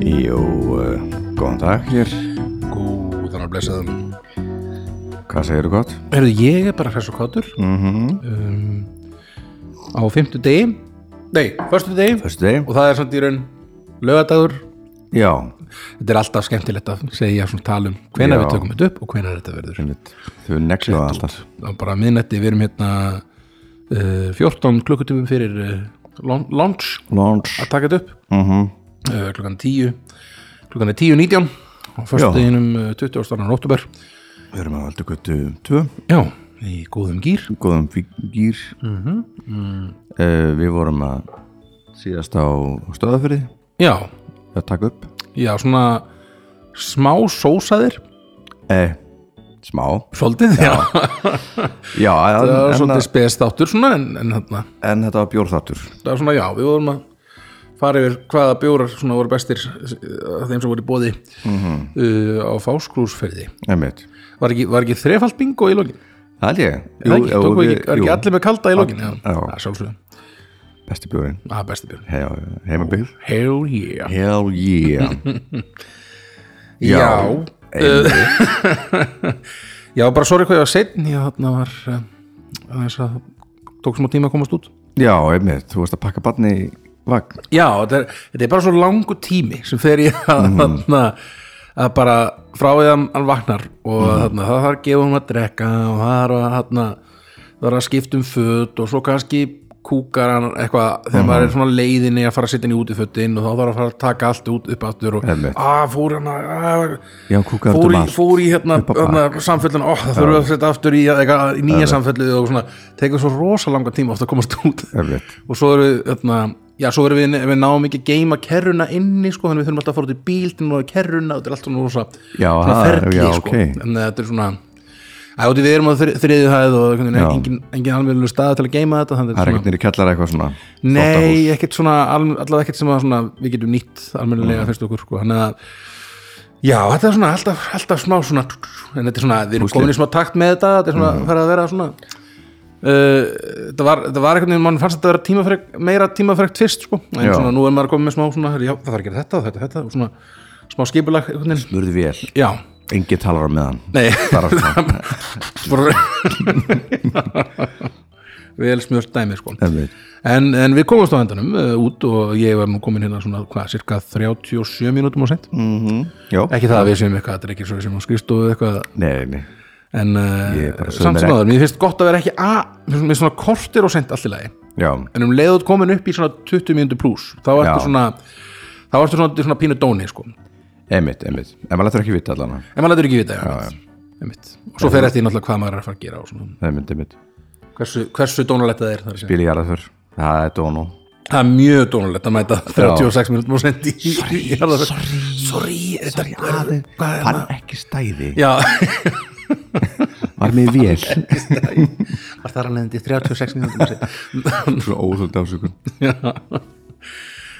eh, Góðan dag hér, Góðan að blessa það hvað segirðu gott? Herðu, ég er bara hress og kátur Mm -hmm. um, Á fimmtu degi Nei, förstu degi Föstu deg? Og það er samt í raun lögadagur Já, Þetta er alltaf skemmtilegt að segja svona tala um hvenær Já. við tökum þetta upp og hvenær þetta verður einmitt. Þau neglu það alltaf Það er bara að miðnætti, við erum hérna uh, 14 klukkutímum fyrir uh, lon- launch Launch að taka þetta upp mm uh, klukkan 10 klukkan er 10.19 á förstu deginum uh, 20. óttúber Við erum að valda göttu 2 Já, í góðum gýr Góðum fíkir mm -hmm. Mhm, Eh, Við vorum að síðast á stöðafyrði Já, að taka upp já, svona smá sósaðir eh, Smá Svolítið, já, Já, en, það var en, svolítið spesdáttur svona en, en þarna, en þetta var bjórþáttur það var svona, já, við vorum að fara yfir hvaða bjórar svona voru bestir eh, af þeim sem voru í bóði uh, á fáskrúsferði Einmitt Var ekki, var ekki þrefald bingo í lokin? Það held ég Jú, ekki, jú, tóku við- ekki, var ekki jú, allir með kalda í lokin? Já, Já. já sjálfsögum, Besti bjórin það er besti bjórn He, Heimabíl Hell yeah Hell yeah Já, Já, einmitt. já, bara sorry hvað ég var seinn, ég þarna var eh, aðeins að tók smá tíma að komast út Já, einmitt, þú varst að pakka barni í vagn Já, þetta er, þetta er bara svo langu tími sem fer ég að, Mhm. þarna, að bara frá því að hann- hann vaknar og Mhm. þarna, það þarf að gefa hann að drekka og það þarf að, þarna, það þarf að skipta um föt og svo kannski kúkar hann eitthvað þegar maður Mhm. er svona á leiðinni að fara að sitja hann í útifötin og þá þarf að fara að taka allt út upp aftur og Einmitt. að fór hann að að- Já, kúkaði fór út um í, allt. fór í hérna, Upp á bak. hérna samfellin, ó það þurfum við að setja aftur í, eitthvað, í nýja samfellið og svona tekur svo rosa langa tíma ofta að komast út Einmitt. og svo eru þarna, já, svo eru við, við náum ekki að geima kerruna inni sko, þannig við þurfum alltaf að fara út í bíl til náðu kerruna, þetta er allt svona rosa Já, svona það er- ferli, já, sko, ok. en þetta er svona að út í við erum á þri- þriðju hæð og einhvern veginn Já. engin, engin alveg stað til að geima þetta þannig Það þetta er er ekkert nýri kjallara eitthvað svona þvottahús. Nei, ekkert svona, al- allavega ekkert sem að svona, við getum nýtt almennilega fyrst okkur sko. þannig að já, þetta er svona alltaf, alltaf smá svona en þetta er svona, við erum Púslið. komin í smá takt með þetta þetta er svona, mm. að vera svona uh, þetta, var, þetta var einhvern veginn, mann fannst þetta vera tímafrek, meira tímafrekt fyrst sko. en Já. svona, nú er maður komin með smá svona, já, það þarf að gera þetta og þetta, og þetta og svona smá skipulag einhvern veginn. Smurði vel, Já, engi talar með hann nei Bara svona, Bara- vel smjört dæmi sko. einmitt En, en við komumst á endanum uh, út og ég var nú komin hérna svona, hvað, cirka 37 mínútum á sent. mm -hmm. Já, Ekki það að við séum eitthvað, þetta er ekki svo við séum á skrifstofu eitthvað, nei, nei en uh, Ég er bara sögum samt sem mér áður, mér finnst gott að vera ekki að, mér finnst- mér finnst svona kortir og sent allt í lagi. Já, En um leiðut komin upp í svona 20 mínútu pluss, þá Já. ertu svona, þá ertu svona, svona pínu dóni, sko. einmitt, einmitt En maður lætur ekki vita allan En maður lætur ekki vita, já, einmitt. Og svo fer eftir í náttúrulega hvað maður er að fara að gera og svona, Einmitt, einmitt hversu, hversu dónalegt það er. þar að segja. Bíl í jarðaför, það er dónu Það er mjög dónulegt að mæta 36 mínútum og sendi í Sorry, sorry, sorry, þetta er aðeins Hann ekki stæði, Já, var með vel var það að leðandi 36 mínútum og sendi Svo óþöld ásökun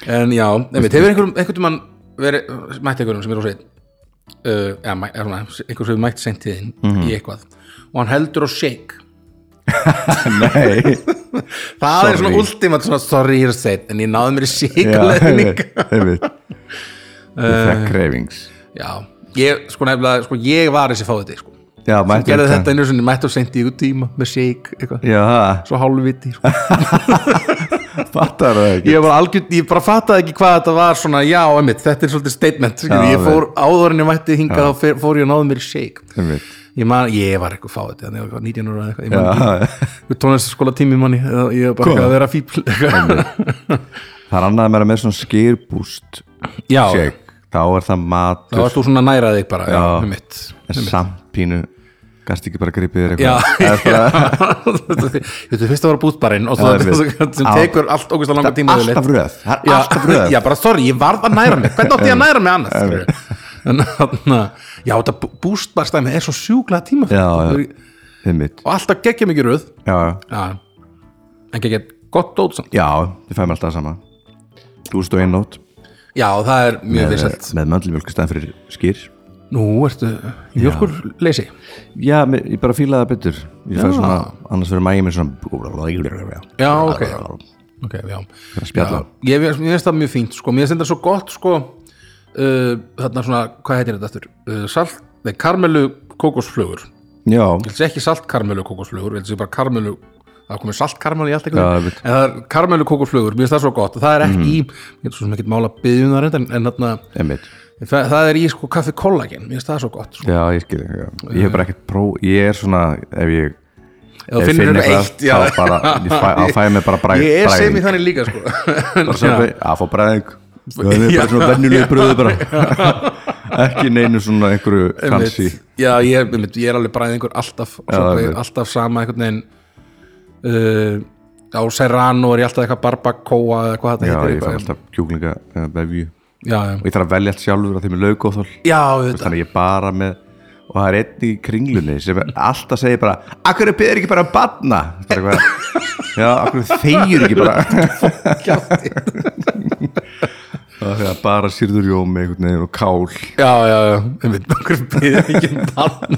En já, einmitt, hefur einhverjum einhvern mann verið, mætt einhverjum sem er á sein uh, eða mæ- eða svona, einhver sem er mætt seint í þinn í eitthvað og hann heldur á shake Nei, Það er svona Sorry. ultimate svona sorry ég er sein en ég náði mér í já, shake einmitt leðning Einmitt Ég fekk Eh. kreifings Já, ég sko nefnilega, sko ég var þessi fáið sko Já, mættu gerði þetta einu sinni mætt og sendi í tíma með shake eitthvað, Já, svo hálfviti sko. fattar það ekki ég, var algjörn, ég bara fattaði ekki hvað þetta var svona, já, emitt, þetta er svolítið statement já, Já, ég fór áður en ég mætti hingað þá fer- fór ég og náði mér í shake Einmitt ég, man, ég var eitthvað fáið þannig að ég var 19 ára eða eitthvað ég man ekki. Já, Við tónlistaskóla tími manni eða ég var bara eitthvað að vera fíbl eitthvað. Það er annað að vera með svona skýrbúst já, shake, þá er það þá matur varst þú svona næraðið bara já, Já. emitt en samt pínu gast ekki bara gripið þér Já, eitthvað já. Það er bara- Þetta er fyrst að vera bútbarinn og Já, það einmitt. sem Já. tekur allt ógust að langa tíma yfirleitt. alltaf röð það er já, alltaf röð já, bara sorry, ég varð að næra mig hvernig átti ég að næra mig annars skilurðu? en þannig að, já, þetta bústbarstæmi er svo sjúklega tíma Já, já. einmitt. og alltaf geggja mikið röð já, já. já, en geggja gott dót samt. já, við fæum alltaf sama dúst og einnót já, það er mjög vinsælt með möndlumjölk staðan fyrir skýr nú ertu, mjölkur leysi já, mér- ég bara fílaði það betur ég fæði svona, annars verður mægið mér svona já, ok, ok, já, spjalla. já ég, mér finnst það mjög fínt, sko, mér finnst þetta svo gott, sko uh, þarna svona, hvað heitir þetta aftur uh, salt, nei, karmelu kókosflögur já, ég helst ekki salt karmelu kókosflögur ég helst ekki bara karmelu það komið salt karmelu í allt Já, Mm. ég eitthvað en veit. það er karmelu kókosflögur, mér finnst það svo gott það er ekki í, ég get svo sem ekki mála byðum það reynd en, en þarna, einmitt það, það er í sko kaffi kollagen, mér finnst það svo gott sko. já, ég skil, já. ég hef bara ekkert pró ég er svona, ef ég ef Ef þú ég finnir finn eitthvað eitthvað, eitt já. þá bara- ég fæ- þá fæ ég mér bara bragð- ég er bragðing. sem í þannig líka sko En, bara sagði, að fá bræðing það er Já. bara svona vennulegu bröðu bara ekki neinu svona einhverju einmitt. kansi já, ég, er- einmitt, ég er alveg bræðingur alltaf, og svo bara einmitt. alltaf sama einhvern veginn uh, á Serrano er ég alltaf eitthvað barbacoa eða hvað já, þetta heitir ég fæ eitthvað. alltaf kjúklinga uh, vefju og já, já, ég þarf að velja allt sjálfur að því með lauk og þól já, auðvitað þannig að ég bara með og það er einn í kringlunni sem er alltaf segir bara akkur er ekki bara að batna bara eitthvað, já, akkur þeir ekki bara Kjafti. það er bara sýrður jómi einhvern veginn og kál já, já, já, einmitt okkur byrði ekki um bann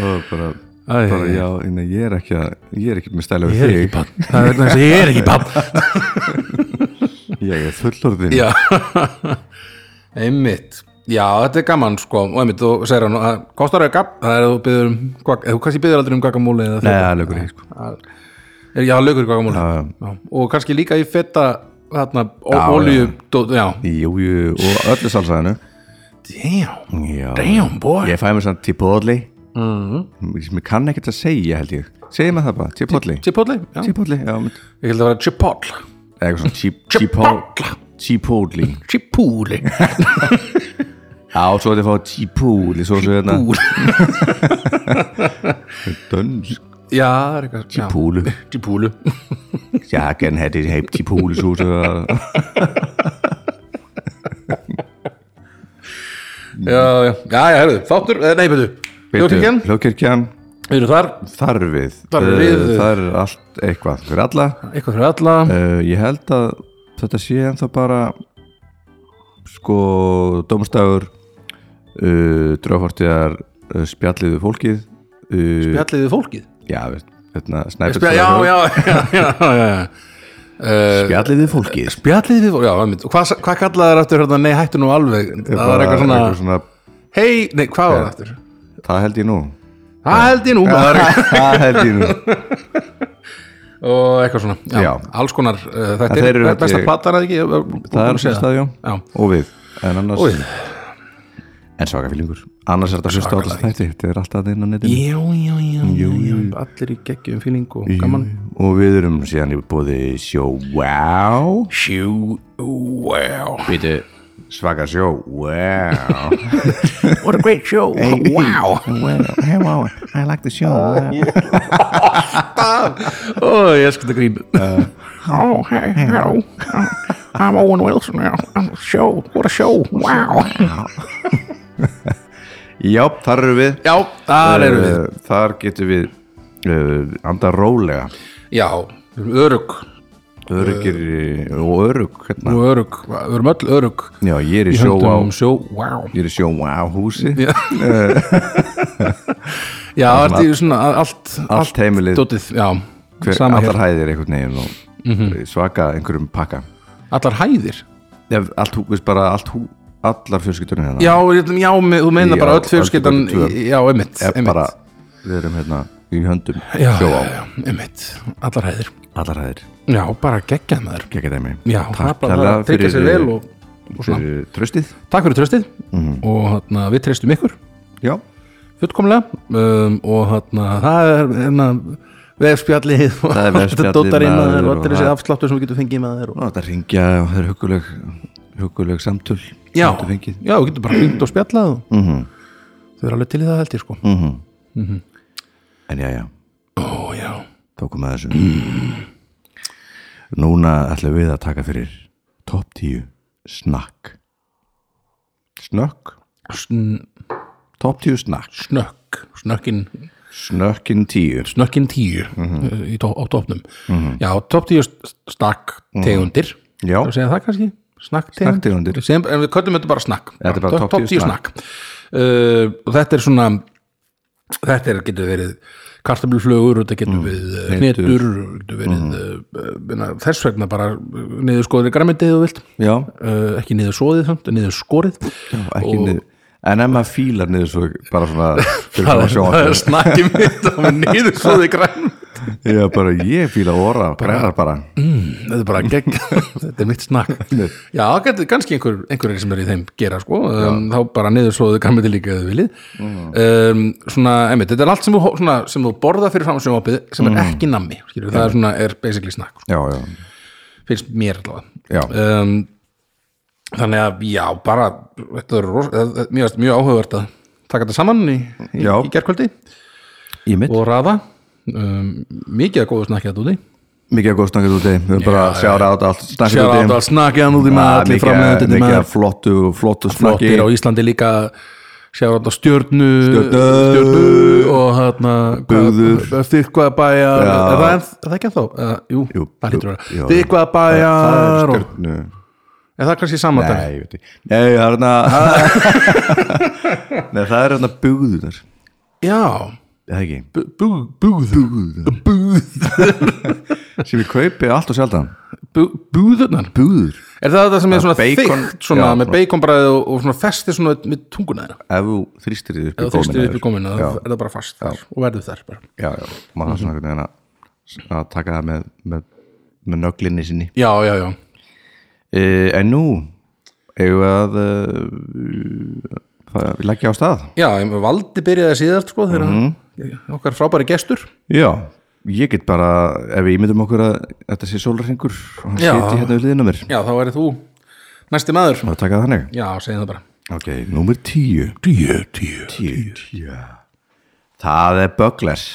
og bara, Æ, bara æ, æ. já, en ég er ekki að, ég er ekki með stæla ég við er ekki þig bann, það er vegna þess að ég er ekki bann ég er fullorðin já einmitt já, þetta er gaman sko og einmitt, þú segir hann, það kostar auðvitað það er að þú byður um, guac- eða þú kannski byður aldrei um guacamole eða Nei, feta. það er lögur sko. hitt Er- Já, laukur guacamole já. já. Og kannski líka í feta þarna, Já, ó- olíu dó- Já, Jú, jú, og öllu salsaðinu damn, Já damn Mhm. boy Ég fæ mér svona tipolli mm. Mér kann ekkert að segja held ég Segir maður það bara, tipolli Chipotle, já, Tipolli, já mynd. ég held að vera chipotle Eða Eitthvað svona chip- Chipotle. chipo- Chipolli Chipuli Já, svo þetta fá chipolli Svo svo hérna Chipolli. Dönsk Já, það er eitthvað já. Púlu Chipulu Já, genn hætti hætt chipolli Svo svo Já, já, já, já, herðu, þáttur, eh, nei, betur Hljókirkjan, Hljókirkjan við erum þar Þar er við Þar er við. Eh, Þar er allt eitthvað fyrir alla Eitthvað fyrir alla uh, Ég held að þetta sé ennþá bara sko dómstæður uh, draugafortiðar uh, spjallið við fólkið uh, Spjallið við fólkið já, veist, hérna, Spjall, já, já, já, já, já, já. spjallið við fólkið Spjallið við fólkið, já, einmitt Og Hvað hva kallaði þér aftur hérna, nei, hættu nú alveg Það var eitthvað svona, svona hei, nei, hvað var það aftur? það held ég nú Það held ég nú maður það held ég nú og eitthvað svona, já, Já. alls konar uh, þetta þeir er eru besta ekki- platan eða ekki Ég- ég- það búin er að segja svona staðjó Já. og við en annars Og við. en svaka fylgjur annars er þetta að hlusta á alltaf þætti þetta er alltaf að inn á netinu já, já, já, já, já, allir í geggjum fíling og gaman og við erum síðan í bóði sjó wow Sjú, oh, wow Býtu Svaka sjó Wow What a great show, wow Hey wow I like the show Oh, Uh, Ó, ég sko þetta grín Oh, hey, hello. I'm Owen Wilson now. I'm a show. What a show. Wow. Já, þar eru við Já, þar erum við Uh, Þar getum við uh, Anda rólega Já, við erum örug Örugir uh, og örug hérna. og örug, við erum öll örug Já, ég er í sjó á Höndum sjó, wow Ég er í sjó á húsi Já, já allt í svona allt, Allt heimilið. dótið, já, Hver, sama hérna. Mhm. Allar hér hæðir einhvern veginn og Svaka einhverjum pakka Allar hæðir Já, allt, hú- veist bara allt hú Allar fjölskyldurinn hérna Já, ég ætlum- já, me- þú meina Já, bara öll fjölskyldan öll fjölskyldan tvö. Já, einmitt, Er einmitt. bara, Við erum hérna í höndum já, sjó já, á já, einmitt, allar hæðir Allar hæðir Já, bara geggjað maður Gekka dæmi Já, það er Takk bara það kærlega eh, að tryggja sér vel og, og svona. fyrir tröstið Takk fyrir tröstið og þarna, við treystum ykkur Já fullkomlega um, og þarna, það er hérna, vefspjallið og Það er allt þetta vefspjallið, dótar inn að maður, þér og og allir þessi það- afsláttur sem við getum fengið með þér og... Og þetta ringja og það er huguleg huguleg samtöl Já, Þetta fengið. já, við getum Mhm. bara fengt og spjallað og... Þau eru alveg til í það held ég sko En já, já, Ó, já, þá komum við að þessu Núna ætlum við að taka fyrir top 10 snakk Snökk Sn Top 10 snakk snökk, snökkin Snökkin 10 snökkinn tíu mm Mhm. tó á topnum já, top tíu snakk tegundir Mhm. Já. Þú segja það kannski, snakk Snakktegundir. tegundir Sem, en við köllum þetta bara snakk Þetta er bara topp tíu Eh, snakk uh, og þetta er svona þetta er, getur verið kartabluflögur og þetta getur við eh, Mhm. hnetur. Mhm. hnetur og getur verið mm. þess vegna bara niður skoður í græmitið og vilt já, uh, ekki niður svoðið samt, niður skorið ekki niður en ef maður fílar niður svo bara svona fyrir svona það er, það er sjónvarpið. snakkið mitt um á niður svoðið græmitið Já, bara ég fíla orra, grænar bara þetta er bara gegn, þetta er mitt snakk já, gæti, kannski einhver, einhverjir sem er í þeim gera sko, um, þá bara niður svo þau kannið líka þau viljið um, svona, einmitt, þetta er allt sem þú, hó- svona, sem þú borða fyrir fram sjónvapið sem er ekki nammi, skilur, það er svona er basically snakk, já, já, sko, finnst mér Já. allavega um, þannig að já, bara þetta er ros, það- það- mjög, mjög áhugavert að taka þetta saman í, í, Já. í gerkvöldi ég mitt og raða um, mikið að góðu snakkið að úti mikið að góð snakkið úti, við höfum bara sjára á þetta allt snakkið Ah, Sjára á þetta snakkið að úti með allir framleiðandi mikið að flottu, flottu snakki flottir á Íslandi líka sjáur þetta stjörnu, Stjörnu. og hérna Bugður. þykvað bæjar Já. er það, er það ekki að þá? Uh, jú, Jú, það hlýtur að jú, já. vera þykvað það bæjar er og, stjörnu er það kannski saman dag? nei, ég veit ekki. nei, það er hérna nei, það er hérna bugðunar já, eða ekki, bug, bugður sem ég kaupi allt og sjaldan bug, bugðurnar bugður, er það það sem er svona bacon- þykkt svona, já, með svona- baconbræði og, og svona festi svona með tunguna þeirra ef þú þrýstir þið upp eða þrýstir upp í góminu, já, það er það bara fast þar og verður þar bara já, já, maður þarf svona einhvern veginn að- að taka það með, með, með nöglinni sinni já, já, já, Uh, en nú eigum við að uh, leggja á stað já, ég- valdi byrjaði síðast sko þegar Mhm. okkar frábæri gestur Já, ég get bara ef við ímyndum okkur að þetta sé sólarhengur og hann Já. seti hérna við liðina mér Já, þá væri þú næsti maður og taka það þannig Já, segjum það bara Ok, númer tíu Tíu, tíu, tíu, tíu. Það er Böggles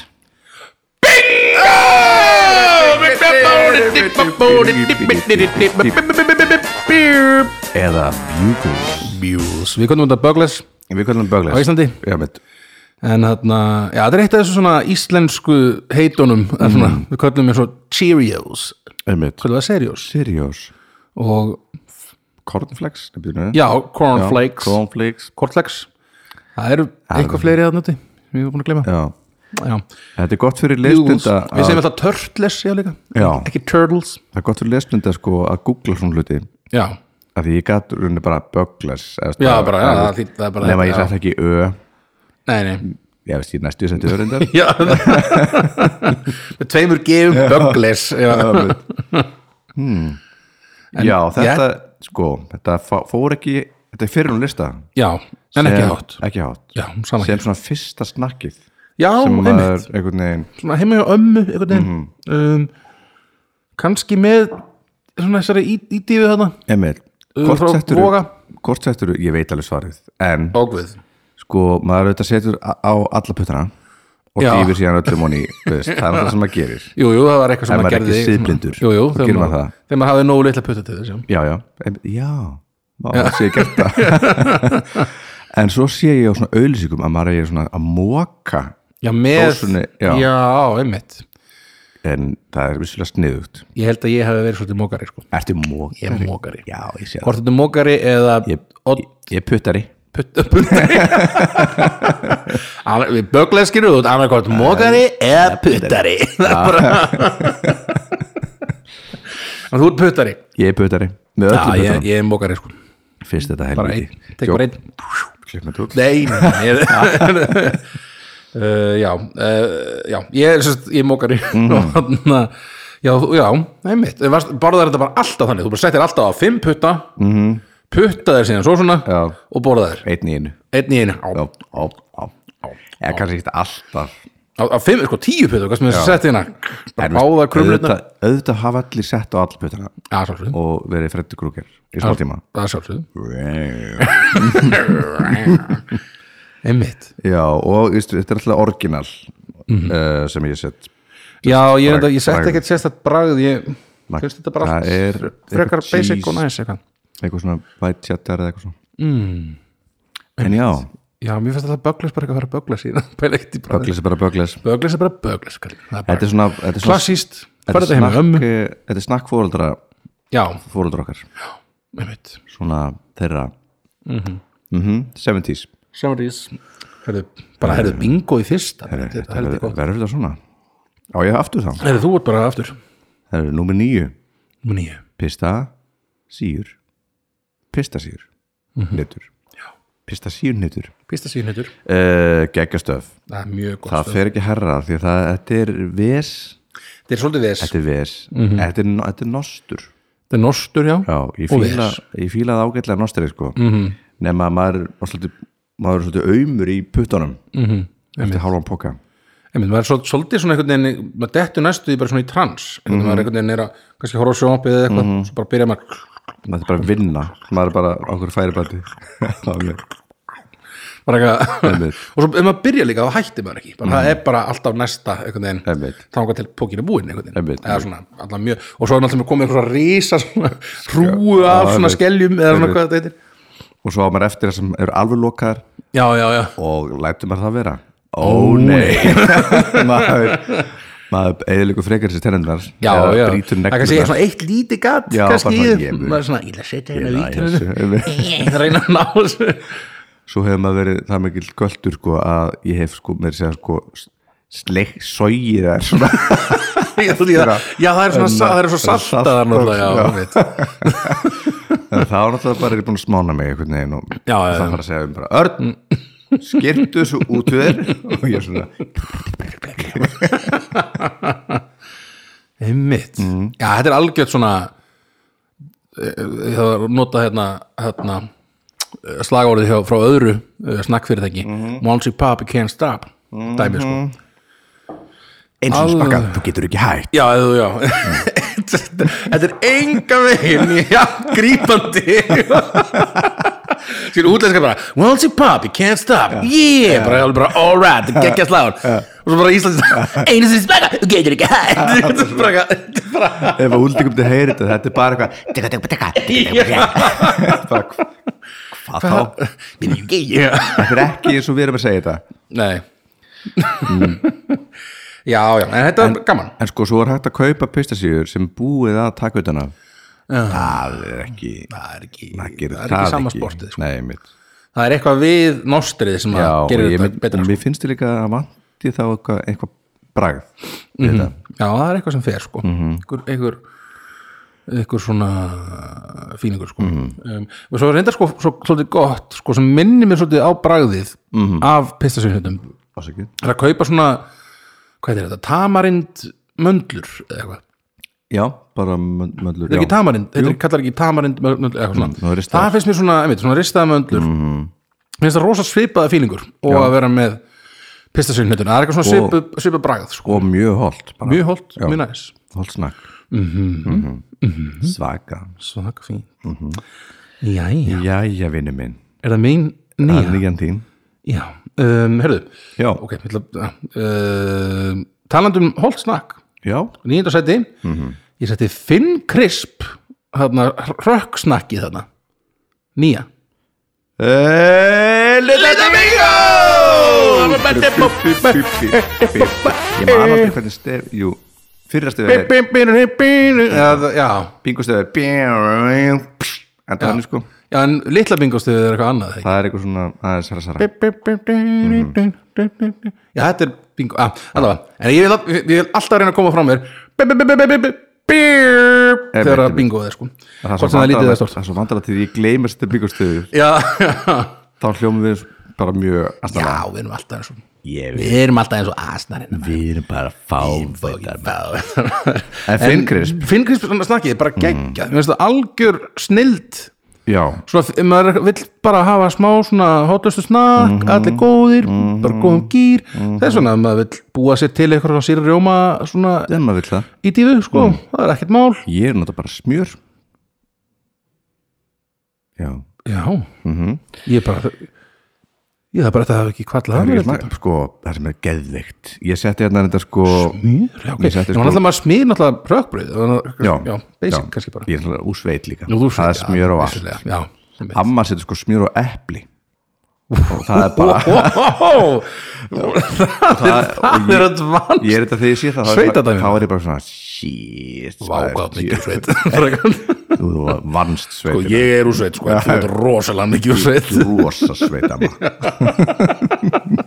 eða Bugles Bjús, við konum þetta Bögles Við kallum á Böggles Íslandi Já, mitt En þarna, já, þetta er eitt af þessu svona íslensku heitunum mm. svona, Við kallum eins og Cheerios Einmitt Hvað er það, Serios? Sirius Og, Cornflakes nei, byrjum við. já, Cornflakes Cornflakes Cornflakes Það eru eitthvað fleiri þarna úti Við erum búin að gleyma Já, Já, þetta er gott fyrir Bugles lesblinda Við segjum alltaf Turtles, já líka Já. Ekki Turtles Það er gott fyrir lesblinda sko að googla svona hluti Já, að því ég gat runni bara Böggles já, bara, já, það, þýdd- það er bara Nefna ég já. sætti ekki Ö Nei, nei Ég veist ég næstu sendi Ö reyndar Já Með tveimur gefum Douglas Já, Hmm. Já, þetta sko, þetta fá- fór ekki Þetta er fyrir hún lista já en ekki Sem- hátt Ekki hátt Já, saman Sem svona fyrsta snakkið Já, sem einmitt maður Mhm. einhvern veginn Svona heima hjá ömmu einhvern veginn um, Kanski með svona þessari í- ídýfu þarna Emil, Uh, hvort frá settur Voga. Hvort settur, ég veit alveg svarið En Bókvið sko, maður auðvitað setur á á alla puttana og Já. dýfir síðan öllum honi veist, það er það sem maður gerir Jú, jú, það var eitthvað sem Ef maður maður er gerði ekki siðblindur, Jú, jú, þá þegar gerir maður maður- það. þegar maður hafði nógu litla putta til þess já. já, já, en, já, má, sé ég gert það en svo sé ég á svona auðlýsingum að maður er svona að móka Já, með Dósunni, já. einmitt en það er vissulega sniðugt Ég held að ég hef verið svolítið mókari sko. ertu mókari? Ég er mókari já, ég sé Hvort þetta er mókari eða það ég, odd- ég, ég er puttari puttari við bögleskinu út annarkort mókari eða puttari það er bara en þú ert puttari ég er puttari með já, öllum ég, puttanum ég er mókari sko fyrst þetta bara helviti einn, tek bara einn klukkan tók nei, nei ég, uh, já uh, já, ég er, sérst, ég er mókari Mhm. og hann já, þú- já, einmitt Þú varst- borðar þetta bara alltaf þannig, þú bara settir alltaf á fimm putta mm -hmm. putta þér síðan svo svona Mhm. Já. og borðar þér, einn í einu einn í einu á, já, á, á, á eða kannski ekki alltaf á, á fimm, sko tíu pötu, hvað sem þess að setja hérna En bara áða krumlutna auðvitað, auðvitað hafa allir sett á allpötana það er sjálfsögðu, og verið Freddi Krúker í smá tíma það er sjálfsögðu einmitt, Já, og veistu, þetta er alltaf orginal Mhm. uh, sem ég sett já ég, bragð- brag, ég bragð. sett ekkert sérstætt bragð ég Nei, finnst þetta bara það allt er frekar eitthvað basic cheese. og næs eitthvað eitthvað svona white chatter eða eitthvað svona mm. En já, já, mér finnst þetta bögles bara eitthvað að fara bögles í pæla eitt í bragð, bögles er bara bögles bögles er bara bögles kallinn. það er Þetta bara er svona þetta er svona- klassíst, þetta fara er þetta heim með snakk, ömmu eh, Þetta er snakk fóreldra, já, fóreldra okkar einmitt Mhm. svona þeirra mm -hmm. 70s Sjáumrís herðu, bara herðu bingo í fyrsta Herru, þetta Þetta er heldur gott verður þetta svona Á ég aftur þá herðu, þú ert bara aftur Það eru númer níu Númer níu. Pista síur Pista síur Mhm. Nýtur Pista síur nýtur pista síðan heitur uh, Geggastöf það er mjög gott Það stöð. fer ekki herra því að það, þetta er ves þetta er svolítið ves Þetta er ves þetta, er, þetta er nostur þetta er nostur Mhm. já, Já, ég Og fíla, ves. Mhm. ég fíla það ágætlega nostri sko mm -hmm. Nefna að maður er svolítið, maður er svolítið aumur í puttunum mm -hmm. Mhm. Eftir hálfan poka Einmitt, maður er svol- svolítið svona einhvern veginn maður dettur næstu því bara svona í trans einhvern Mhm. veginn maður er einhvern veginn er að kannski horfa á sjónvarpið eða eitthvað svo bara byrja maður Maður er bara að vinna Maður er bara á okkur færibandi bara eitthvað Einmitt. Mhm. og svo ef maður byrja líka þá hættir maður ekki bara, það er bara alltaf næsta einhvern veginn Einmitt. þangað til pókinu búinn einhvern veginn Einmitt, eða svona alltaf mjög og svo er náttúrulega komið einhverja risa svona hrúu af Já, svona einmitt. skeljum eða svona Einmitt. hvað þetta heitir Og svo á maður eftir það sem eru alveg lokaðar já já já og lætur maður það vera ó nei maður, maður eðilegu frekar sér tennendar já já brýtur það kannski er neglurnar svona eitt lítið gatt Já, kannski bara í- svona, ég mun- maður er svona ég ætla að setja hérna Ég vít næ þessu. ég ætla að reyna að ná þessu svo hefur maður verið það mikil kvöldur sko, að ég hef sko, mér segja sko sleik, sógið þær svona Já, því að- já það er svona sa- það er svo Salt- saltaðar náttúrulega Já. já, einmitt. en þá er náttúrulega bara er ég búin að smána mig einhvern veginn og Já, já, það já. fara að segja um bara Örn, skirtu þessu út við þér og ég svona Einmitt. Já, þetta er algjört svona eh, ég það var nota hérna, hérna eh, slagorðið hjá, frá öðru uh, snakkfyrirtæki Once you pop, you can't stop dæmi sko eins og Alveg. spakka, þú getur ekki hægt Já, eða, já Þetta er enga veginn já, grípandi Sér útlenska bara Once you pop, you can't stop Yeah, bara, alveg bara all right, geggja sláður og svo bara íslensk Einu sinni spaka, þú getur ekki hætt Þetta er bara eitthvað- bara ef að úldingum til heyri þetta, þetta er bara eitthvað tikka, tikka, tikka, tikka, tikka, tikka. Bara, hva- hvað þá? Yeah. Þetta er ekki eins og við erum að segja þetta Nei Já, já, en þetta er gaman En sko, svo er hægt að kaupa pistasíður sem búið að taka utan af Það er ekki Það er ekki, Það gerir það er ekki sama ekki. sportið sko. Nei, mitt Það er eitthvað við nostrið sem Já, að og gerir ég, þetta betra og sko. mér finnst þið líka að vanti þá eitthvað, eitthvað bragð mm -hmm. Já, það er eitthvað sem fer sko. Mhm. einhver, einhver, einhver svona fíningur sko. Mhm. um, og svo er reyndar sko, svo, svolítið gott sko, sem minnir mér svolítið á bragðið Mhm. af pistasjónhjöndum Ásakið er að kaupa svona hvað er þetta, tamarind möndlur eða eitthvað Já, bara mönd- möndlur þetta er já. ekki Mm, tamarind, þetta er- kallar ekki tamarind möndlur, eitthvað svona, það Mhm. er ristaðar. það finnst mér svona einmitt, svona ristaða möndlur mm. finnst það rosa svipaða fílingur og að vera með pistasjónhjöndun, það er eitthvað svona Og- svipa, svipa bragð sko. Og mjög holdt bara. mjög holdt, Mhm. Já. mjög næs Holdt snakk Mhm. Svaka Svaka fín Mhm. Jæja, Jæja, vinnu minn er það mín Það er nýja? nýjan tím Já, um, herðu Já. Ok, ég ætla að uh, Talandum holt snakk Já, Nýjönda sæti Mhm. Ég sæti Finn Krisp þarna, Rökksnakki þarna Nýja Eh, Lilla Bingo Ég man aldrei hvernig stef Jú, fyrra stef er Já, já, bingo stef er En það er sko já, en litla bingostuðið er eitthvað annað ekki? Það er eitthvað svona aðeins hara sara Já, þetta er bingo ah, allavega. En ég vil, al- ég vil alltaf reyna að koma frá mér Þegar að einmitt. bingo er sko Það er Hvort svo sem það er lítið eða vandræðalegt- stort það er svo vandala til því ég gleymast þetta bingo stefi Já, já Þá hljómum við bara mjög Já, aðstæða við erum alltaf eins og Ég Við erum alltaf eins og asnarinn Við erum bara fávöldar En Mm. Finnkrisp? Finnkrisp snakkið, bara geggja Mér finnst það algjör snild Já, Svona, ef maður vill bara hafa smá svona hótlustu snakk, allir góðir bara góðum gýr, þess vegna ef maður vill búa sér til eitthvað svona sýra rjóma svona þegar maður vill það í dífu, sko, það er ekkert mál Ég er náttúrulega bara smjör Já, Já, ég er bara ég er bara þetta hafi ekki kvallað það að er mér ekki smak Sko, það sem er geðveikt Ég setti hérna þetta sko Mýr, já, ok, Ég setti en hann sko- alltaf maður smýr náttúrulega rökbröð, Já, já, basic kannski bara Ég er náttúrulega úr sveit líka Nú, þú Það er sér- smjör já, og allt vissulega, Ah. Já, einmitt. Amma setur sko smjör og epli Og það er bara Ó, það, Það er að vann Ég er þetta þegar ég sé það þá er ég bara- Sveitadæmi. Þá er ég bara svona Shit maður, Vágað shit, mikið Sko, sveit Frekar. Þú þú vannst sveit Og sko, ég er úr sveit, sko, en þú ert rosalega mikið úr sveit Rosa sveit amma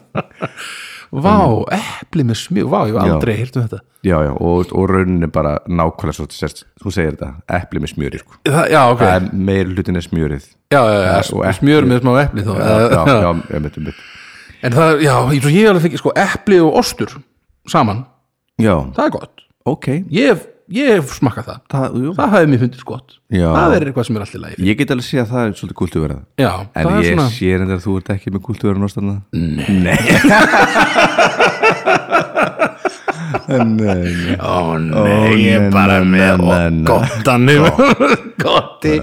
Vá, epli með smjúg, vá, ég var Já. aldrei hýrt um þetta já, já, og, og raunin er bara nákvæmlega svo þú sért- þú segir þetta, epli með smjöri sko. Það, Já, ok, það er meir hlutin er smjörið já, já, já, og já epli. smjör með smá epli þá já, já, já, ég veit um En það, já, ég, svo ég alveg fengi sko epli og ostur saman, já, það er gott ok Ég hef, ég hef smakkað það það, jú. Það hafi mér fundist gott Já. Það er eitthvað sem er alltaf lægi ég get alveg sé að það er svolítið kultúverða Já, en það er ég svona sé reyndar að þú ert ekki með kultúverðan ástæðna nei, nei, nei. Ó nei, Ó, ég er nei, bara nei, með nei, og nei. gottan Gotti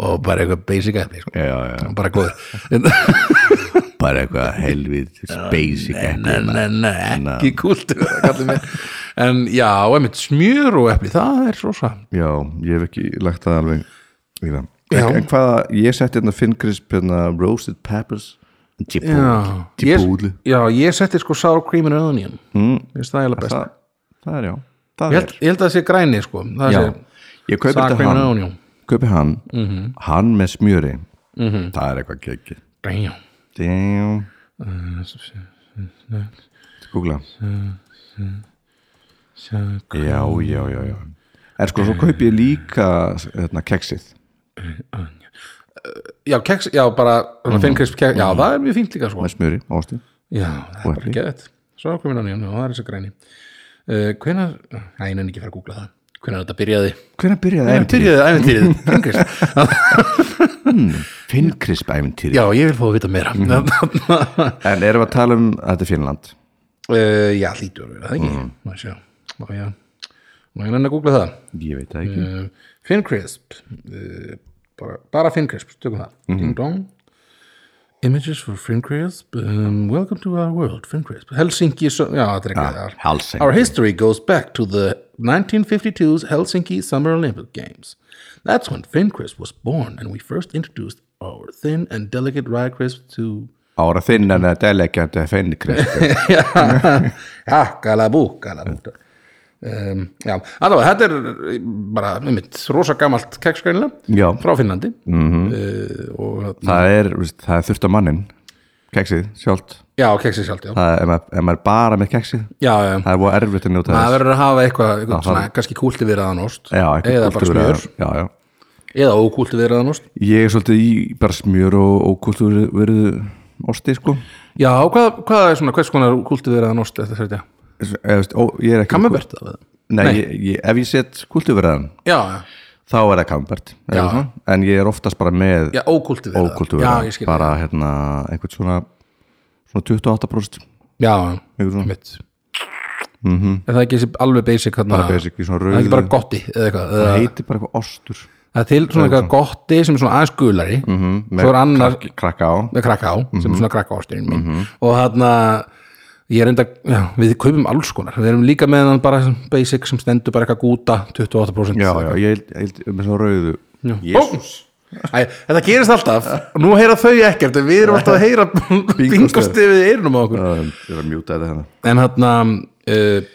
Og bara eitthvað basic epli sko. Já, já. Bara góður bara eitthvað helvið basic epli Nei, nei, nei, ekki kultur En já, einmitt smjör og epli Það er svo saman já, ég hef ekki lagt það alveg í það Já. en, en hvaða, ég setti hérna finnkrisp hérna roasted peppers Já, Chipotle. ég, já, ég setti sko sour cream and onion mm. ég veist það er alveg best það, það er já það ég held, ég held að það sé græni sko það er, sé já, ég kaupi sour þetta cream and hann onion kaupi hann, Mhm. hann með smjöri það er eitthvað kekki Damn. damn Google Sour cream- Já, já, já, já En sko, svo kaupi ég líka hérna, keksið já, keks, já, bara mm. finnkrisp keks, já, það er mjög fínt líka sko með smjöri, ástu já, það er bara geðið sour cream and onion, já, það er þessi græni uh, hvenar, næ, ég nenni ekki að fara að googla það hvenar þetta byrjaði Hvernig byrjaði æventýrið? byrjaði æventýrið, finnkrisp Finnkrisp æventýrið já, ég vil fá að vita meira Mm. En erum við að tala um að þetta er Finnland uh, já, hlýtur að vera það ekki má ég sjá, má ég má ég nenni að googla það Ég veit það ekki uh, Finncrisp uh, bara, bara Finncrisp, tökum það Ding dong Images for Finncrisp um, Welcome to our world, Finncrisp Helsinki, so, já, þetta er ekki þar. Helsinki. Eh, Our history goes back to the 1952's Helsinki Summer Olympic Games That's when Finncrisp was born and we first introduced our thin and delicate rye crisp to Ára þinn en þetta er leggjandi að finnkrisp Já, galabú, galabú Ah, um, Já, allavega, þetta er bara, einmitt, rosa gamalt keksgreinilega Já. frá Finnlandi -hmm. Mhm. uh, og Það er, veist, það er þurft á mannin Keksið, sjálft já, keksi sjálft, já Það er, ef maður- ef maður er bara með keksið Já, já, Það er búið erfitt að njóta það þess verður að hafa eitthvað, eitthvað það- svona, kannski kúltiveraðan ost Já, eitthvað eða bara kúltúr smjör, eða- Já, já eða ókúltiveraðan ost Ég er svolítið í bara smjör og ókultur verið osti, sko Já, hvað, hvað er svona, hvers konar kúltiveraðan ost þetta sér þetta? Eða, veist, ó, ég er ekki Kammabert af það? Nei, Ég, ég, ef ég set kultúverðan Já, já, þá er það kambert en ég er oftast bara með já ókúltiveraðan Já, ókultúverðan ég skil bara hérna einhvern svona, svona 28% Já, já, einhvern svona mitt Er það ekki þessi alveg basic þarna? Mhm. bara basic í svona Það er ekki rauð bara gotti eða eitthvað eða- það heitir bara eitthvað ostur Það er til svona eitthvað gotti sem er svona aðeins gulari Mhm. svo er annar krak, krakka á með krakka á sem er Mhm. svona krakka ásturinn mín og þarna ég er enda, já, við kaupum alls konar við erum líka með hann bara sem basic sem stendur bara eitthvað gúta 28% já, já, ég held- ég held með svona rauðu Jésús Æ, þetta gerist alltaf, nú heyra þau ekkert en við erum alltaf að heyra bingostifið í eyrunum á okkur Það er- ég er að mjúta þetta hérna en þarna, uh,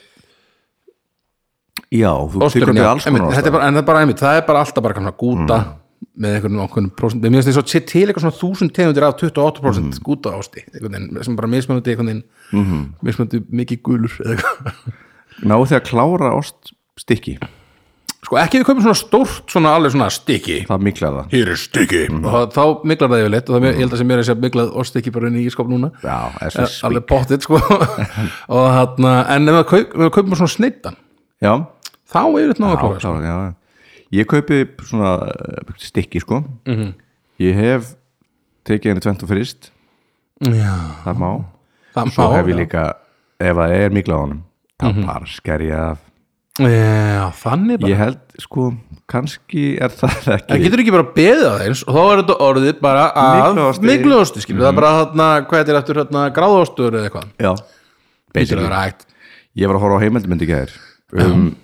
já, þú Osturinn, tekur já, við alls einmitt, konar þetta er ostar. bara, en það er bara einmitt, það er bara alltaf bara kannski gúta Mhm. með einhvern okkur prósent, mér finnst þess að sé til eitthvað svona þúsund tegundir af 28 prósent Mhm. gúta ásti einhvern veginn, sem bara mismunandi einhvern veginn mismunandi mikið gulur eða eitthvað. náðu því að klára ost stikki sko ekki við kaupum svona stórt svona alveg svona stykki það miklar það hér er stykki og það- þá miklar það yfirleitt og það, mm. ég held að sem mér er að segja miklað ostykki bara inn í skop núna já, eða Eh, svona alveg spik. pottið sko og þarna, en ef við kaup, ef við kaupum svona snittan já, þá er þetta náða Já, klára sko. klára, já. Ég kaupi svona eh, stykki sko Mhm. Ég hef tekið henni tvent og frist Já, það má, það svo má, hef ég já. Mhm. líka ef það er mikla á honum þá bara sker ég af Já, þannig bara Ég held sko, kannski er það Það ekki getur ekki bara beðið að eins og þá er þetta orðið bara að Mygluosti. mikluosti, skilur, Mhm. það er bara þarna, hvað þetta er eftir hérna, gráðostur eða eitthvað Já, Býtur að basically vera hægt Ég var að horfa á heimildmyndi gæðir um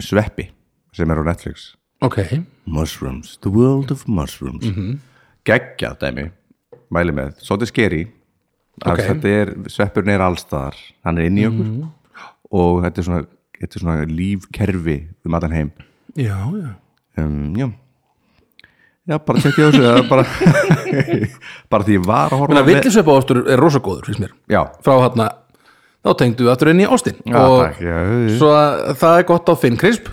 sveppi sem er á Netflix Ok, Mushrooms, the world of mushrooms mm -hmm. geggjað dæmi mæli með, svolítið skeri Ok. þetta er, sveppurinn er allstaðar hann er inn í okkur og þetta er svona, þetta er svona lífkerfi um allan heim já, já um, já. já, bara tekja þessu eða bara, bara því ég var að horfa Menna, villisvepa ostur er rosa góður, finnst mér já, Frá hérna, þá tengdu við aftur inn í Austin og takk, já, já. svo að það er gott á Finn Crisp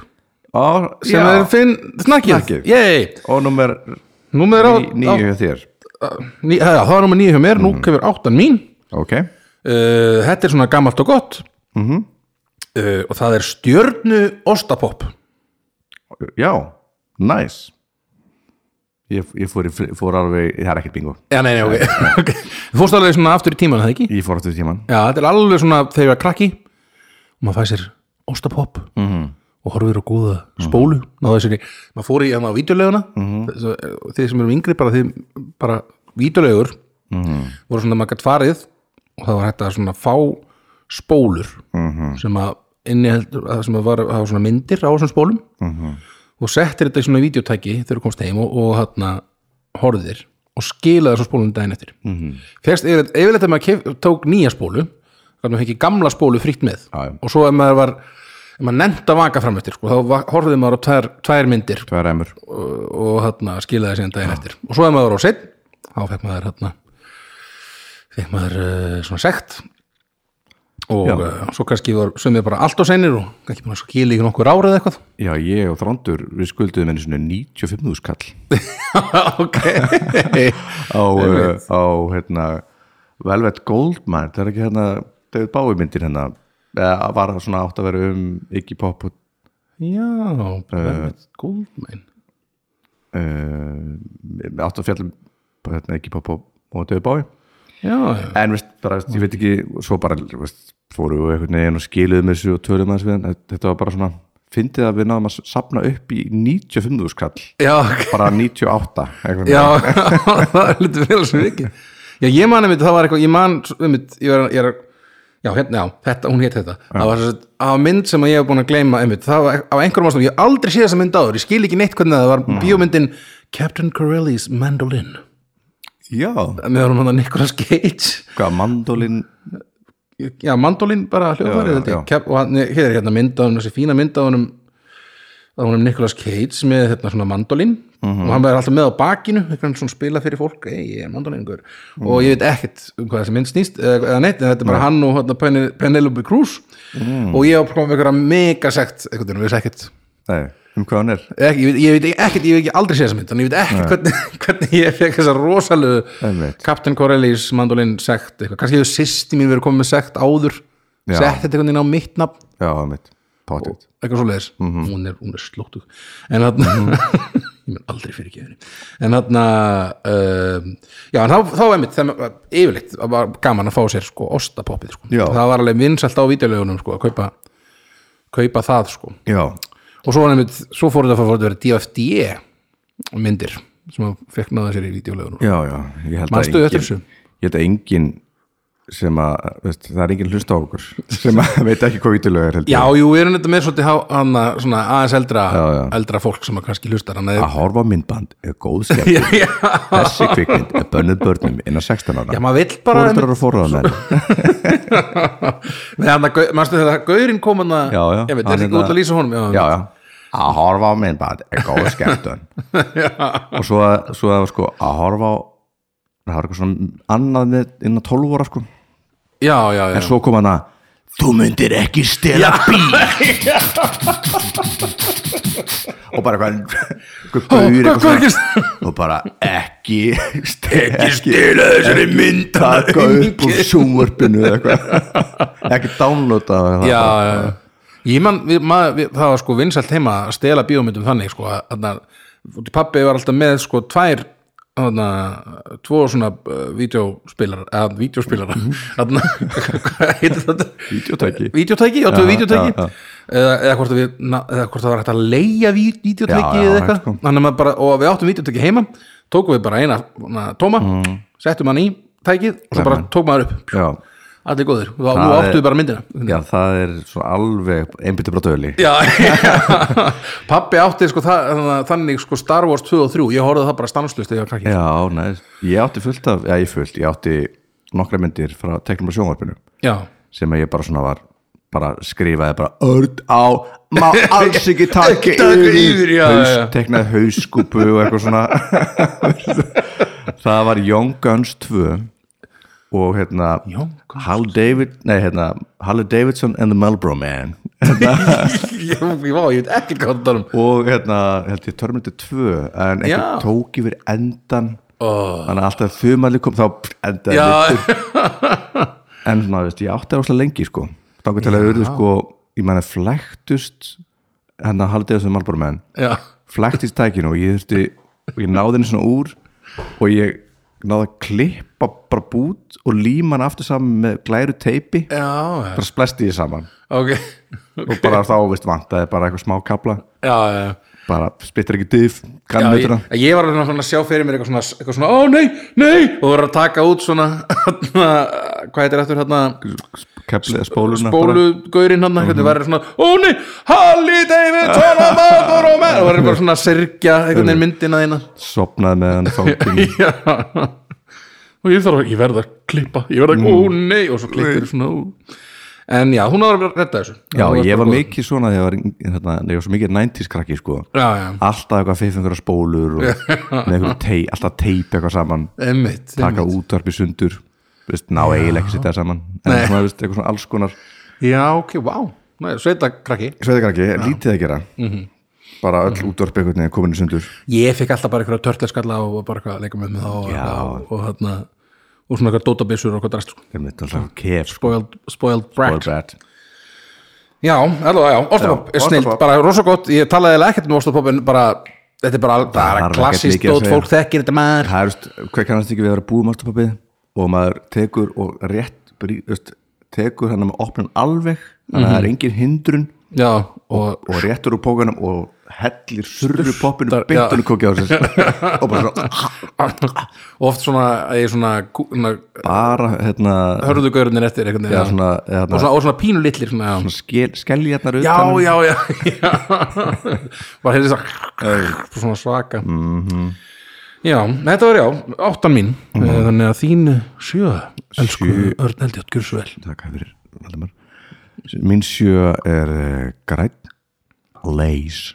Á, sem já. er Finn snakkið Snakkið. Yay! og nummer Númer á, á nýju Mm. hjá þér ný, já, það var nummer nýju hjá mér, nú kefur áttan mín ok, uh, Þetta er svona gamalt og gott Mhm. uh, og það er stjörnu ostapopp já, nice ég, ég fór, í fri- fór alveg það er ekkert bingo, Já, nei, nei, ok, okay. Þú fórst alveg svona aftur í tíman, það ekki? ég fór aftur í tíman Já, þetta er alveg svona þegar ég var krakki og maður fæði sér ostapopp -hmm. og horfir á góða spólu náðu sér í, Mhm. maður fór í hérna hann á vídeoleguna -hmm. þeir sem eru yngri bara þeir, bara vídeolegur -hmm. voru svona maður gætt farið og það var hægt að svona fá spólur -hmm. sem að inniheld, að sem að var, að var svona myndir á þessum spólum -hmm. og settir þetta í svona vídeotæki þegar þú komst heim og, og hann horfðir og skilaði þessu spólunum daginn eftir mm -hmm. fyrst yfirleitt yfirleitt að maður kef, tók nýja spólu þannig að maður fengi gamla spólu fritt með Já, já. og svo ef maður var ef maður nefnt að vaka fram eftir sko, þá va- horfði maður á tvær, tvær myndir tvær emur, og, og hérna, skilaði síðan daginn eftir og svo ef maður var á sinn þá fekk maður hérna, fekk maður uh, svona sekt og Já. uh, svo kannski var sumið bara allt á seinir og kannski búin að skila í nokkur árið eða eitthvað já ég og Þrándur við skulduðum henni svona 95 skall ok á, uh, á hérna Velvet Goldmine, það er ekki hérna David Bowie myndir hérna eða var svona átt að vera um Iggy Pop og já, Velvet Goldmine uh, eh, átt að fjallum hérna, Iggy Pop og, og David Bowie já, já, en veist, bara, veist, ég veit ekki svo bara veist, fóru og einhvern veginn og skiluðum þessu og töluðum aðeins við hann Þetta- þetta var bara svona, fyndið að við náðum að sapna upp í 95 skall já ok bara 98 einhvern veginn. já, það er lítið fyrir sem ekki já, ég man einmitt, það var eitthvað, ég man einmitt, ég er, ég er já, hérna, já, þetta, hún hétt þetta það var þess að mynd sem ég hef búin að gleyma einmitt, það var á einhverjum ástæðum, ég hef aldrei séð þessa mynd áður, ég skil ekki neitt hvernig það var bíómyndin Captain Corelli's Mandolin já, með honum hann að Nicolas Cage hvað, mandolin já, mandolin bara Já, já, hljóðvarið já. og hann hér er hérna mynd á honum þessi fína mynd á honum á honum Nicolas Cage með hérna svona mandolin Mhm. og hann verður alltaf með á bakinu einhvern svona spila fyrir fólk, ei, ég er mandolingur og ég veit ekkert um hvað þessi mynd snýst eða, eða neitt, en þetta er bara hann og hérna, Pen- Penelope Cruz Mm. og ég hef komið einhverja megasekt, einhvern veginn, við veist ekkert nei, um hvað hann er Ekki, ég, veit, ég veit ekkert, ég hef ekki aldrei séð þessa mynd þannig ég veit ekkert hvernig, hvernig ég fekk þessa rosalegu Einmitt. Captain Corelli's mandolin sekt eitthvað, kannski hefur sýsti mín verið komið með sekt áður Já. sett þetta einhvern veginn á mitt nafn já, það er mitt, potið eitthvað svoleiðis, Mhm. hún er, hún er slóttug en hann ég mun aldrei fyrir ekki henni en hann um, já, en þá, þá einmitt, það var yfirleitt það var gaman að fá sér sko ostapoppið sko. Já. það var alveg vinsælt á vídeolögunum sko, að kaupa, kaupa það sko já, og svo, var nefnt, svo fór þetta að fara að vera DFD E myndir sem að fekk náða sér í vídeolegunum já, já, ég held Manstu að eftir þessu? engin, ég held að engin sem að, veist, það er engin hlust á okkur sem að veit ekki hvað vítilög er held Já, ég. jú, við erum þetta með svolítið há- hana, svona, aðeins eldra, Já, já. eldra fólk sem að kannski hlustar hana að horfa á myndband er góð skemmt Já, já, þessi kvikmynd er bönnið börnum innan 16 ára já, maður vill bara fóruldrar og fóruðanar Nei, hann að, manstu þetta, gaurinn kom hana já, já, Ég hann veit, þetta er ekki hérna- út að lýsa honum já, já, að horfa á myndband er góð skemmtun og svo, svo að, sko, að horfa á það var eitthvað svona annað með, innan 12 ára sko. já, já, já. en svo kom hann að þú myndir ekki stela bíl og bara eitthvað eitthvað gaur, hvað- hvað eitthvað svona, og bara ekki stela, ekki stela þessari mynd taka upp úr sjónvarpinu eða eitthvað ekki downloada það. já, já, já. Ég man, við, maður, við, það var sko vinsælt heima að stela bíómyndum þannig sko að þarna, út í pappi var alltaf með sko tvær þarna, tvo svona uh, vídeospilar eða vídeospilar þarna, hvað heitir þetta? Mhm. Vídeótæki. Vídeótæki, já, tvö Já, vídeótæki já, já. eða, eða, hvort að við, na, eða hvort það var hægt að leia Já, vídeótæki já, eða hægt, eitthvað sko. Þannig að maður bara, og við áttum vídeótæki heima tókum við bara eina na, tóma Mhm. settum hann í tækið og svo bara tók maður upp Já. allir góðir, Þá- nú Það er- áttum við bara myndina já, það er svona alveg einbyttu bara döli Já, pappi átti sko, það, þannig- þannig sko Star Wars 2 og 3 ég horfði það bara stanslust þegar ég var krakki Já, næst. Ég átti fullt af, já, ég fullt, ég átti nokkra myndir frá teknum og sjónvarpinu Já, sem að ég bara svona var bara skrifaði bara örd á má alls ekki taka Taka yfir, já, haus, já. teknaði hauskúpu og eitthvað svona það var Young Guns 2 og hérna Jón Hal David, nei hérna Halle Davidson and the Marlboro Man Ég, ég, vá, ég veit ekki hvað það er um og hérna, held ég Terminator 2 en einhver Já. tók yfir endan oh. þannig að alltaf þumalið kom þá endaði Já, en svona, veist, ég átti það rosalega lengi sko þá til að urðu sko, ég meina flæktust hérna Halle Davidson and Marlboro Man já, flæktist tækinu og ég þurfti og ég náði henni svona úr og ég náði að klippa bara bút og líma hann aftur saman með glæru teipi já, já. bara splesti ég saman ok og bara þá veist vantaði bara eitthvað smá kapla Já, já, já bara spyttir ekki dyf Já, kannið ég, þetta ég var alveg svona að sjá fyrir mér eitthvað svona, eitthvað svona ó nei, nei, og þú verður að taka út svona, hana, hvað heitir eftir hérna, keplið spóluna bólugaurinn hann, hvernig verður svona, ó nei, Halli Davidson og maður og menn, og verður bara svona að sergja einhvern veginn myndina þína. bara sopnaði með hann fókin Já, og ég þarf að, ég verð að klippa, ég verð að, Mm. ó nei, og svo klippir svona, ó. en já, hún var að redda þessu. já Hún ég bara var góð. mikið svona þegar ég var, yng- hérna, ég var svo mikið 90s krakki sko Já, já, alltaf eitthvað fiffingur spólur og með einhverju teip, alltaf teip eitthvað saman emmitt. taka útvarpi sundur veist, ná eiginlega ekki sitta saman en Nei. svona, veist, eitthvað svona alls konar Já, ok, vá, wow. sveita krakki. sveitakrakki, lítið að gera bara öll útvarpi einhvern veginn komin í sundur ég fekk alltaf bara einhverja törtleskalla og bara eitthvað að leika með mig þá og, Já. og, og, þarna, og svona eitthvað dótabissur og eitthvað drast sko. þeim þetta alltaf kef sko, spoiled, spoiled brat all bad. já, alveg, já, Óstapopp Já, er snilt, Ostapopp. bara rosa gott ég talaði eiginlega ekkert um Óstapopp en bara þetta er bara, bara þarf ekkert klassist mikið að dót, segja. fólk þekkir þetta maður það er, veist, hvað kannast ekki við að vera búið masterpappi og maður tekur og rétt brí- veist, tekur hann með opnum alveg þannig að það Mhm. er engin hindrun já, og og réttur úr pókanum og hellir surru poppinu Sturtar, já. byttunum kokki á sér og bara svona og oft svona, ég svona, kú- svona bara hérna, hörðu gaurunir eftir einhvern já, veginn já. svona, hérna og svona, og svona pínu litlir svona, já. skel, um. skeljarnar já, utanum. já, já, já bara heyrði það svona svaka Mhm. já, þetta var já, áttan mín Eh, þannig að þín sjö elsku Örn Eldjátt, gjör svo vel Takk fyrir Valdimar Mín sjö er uh, grætt Lays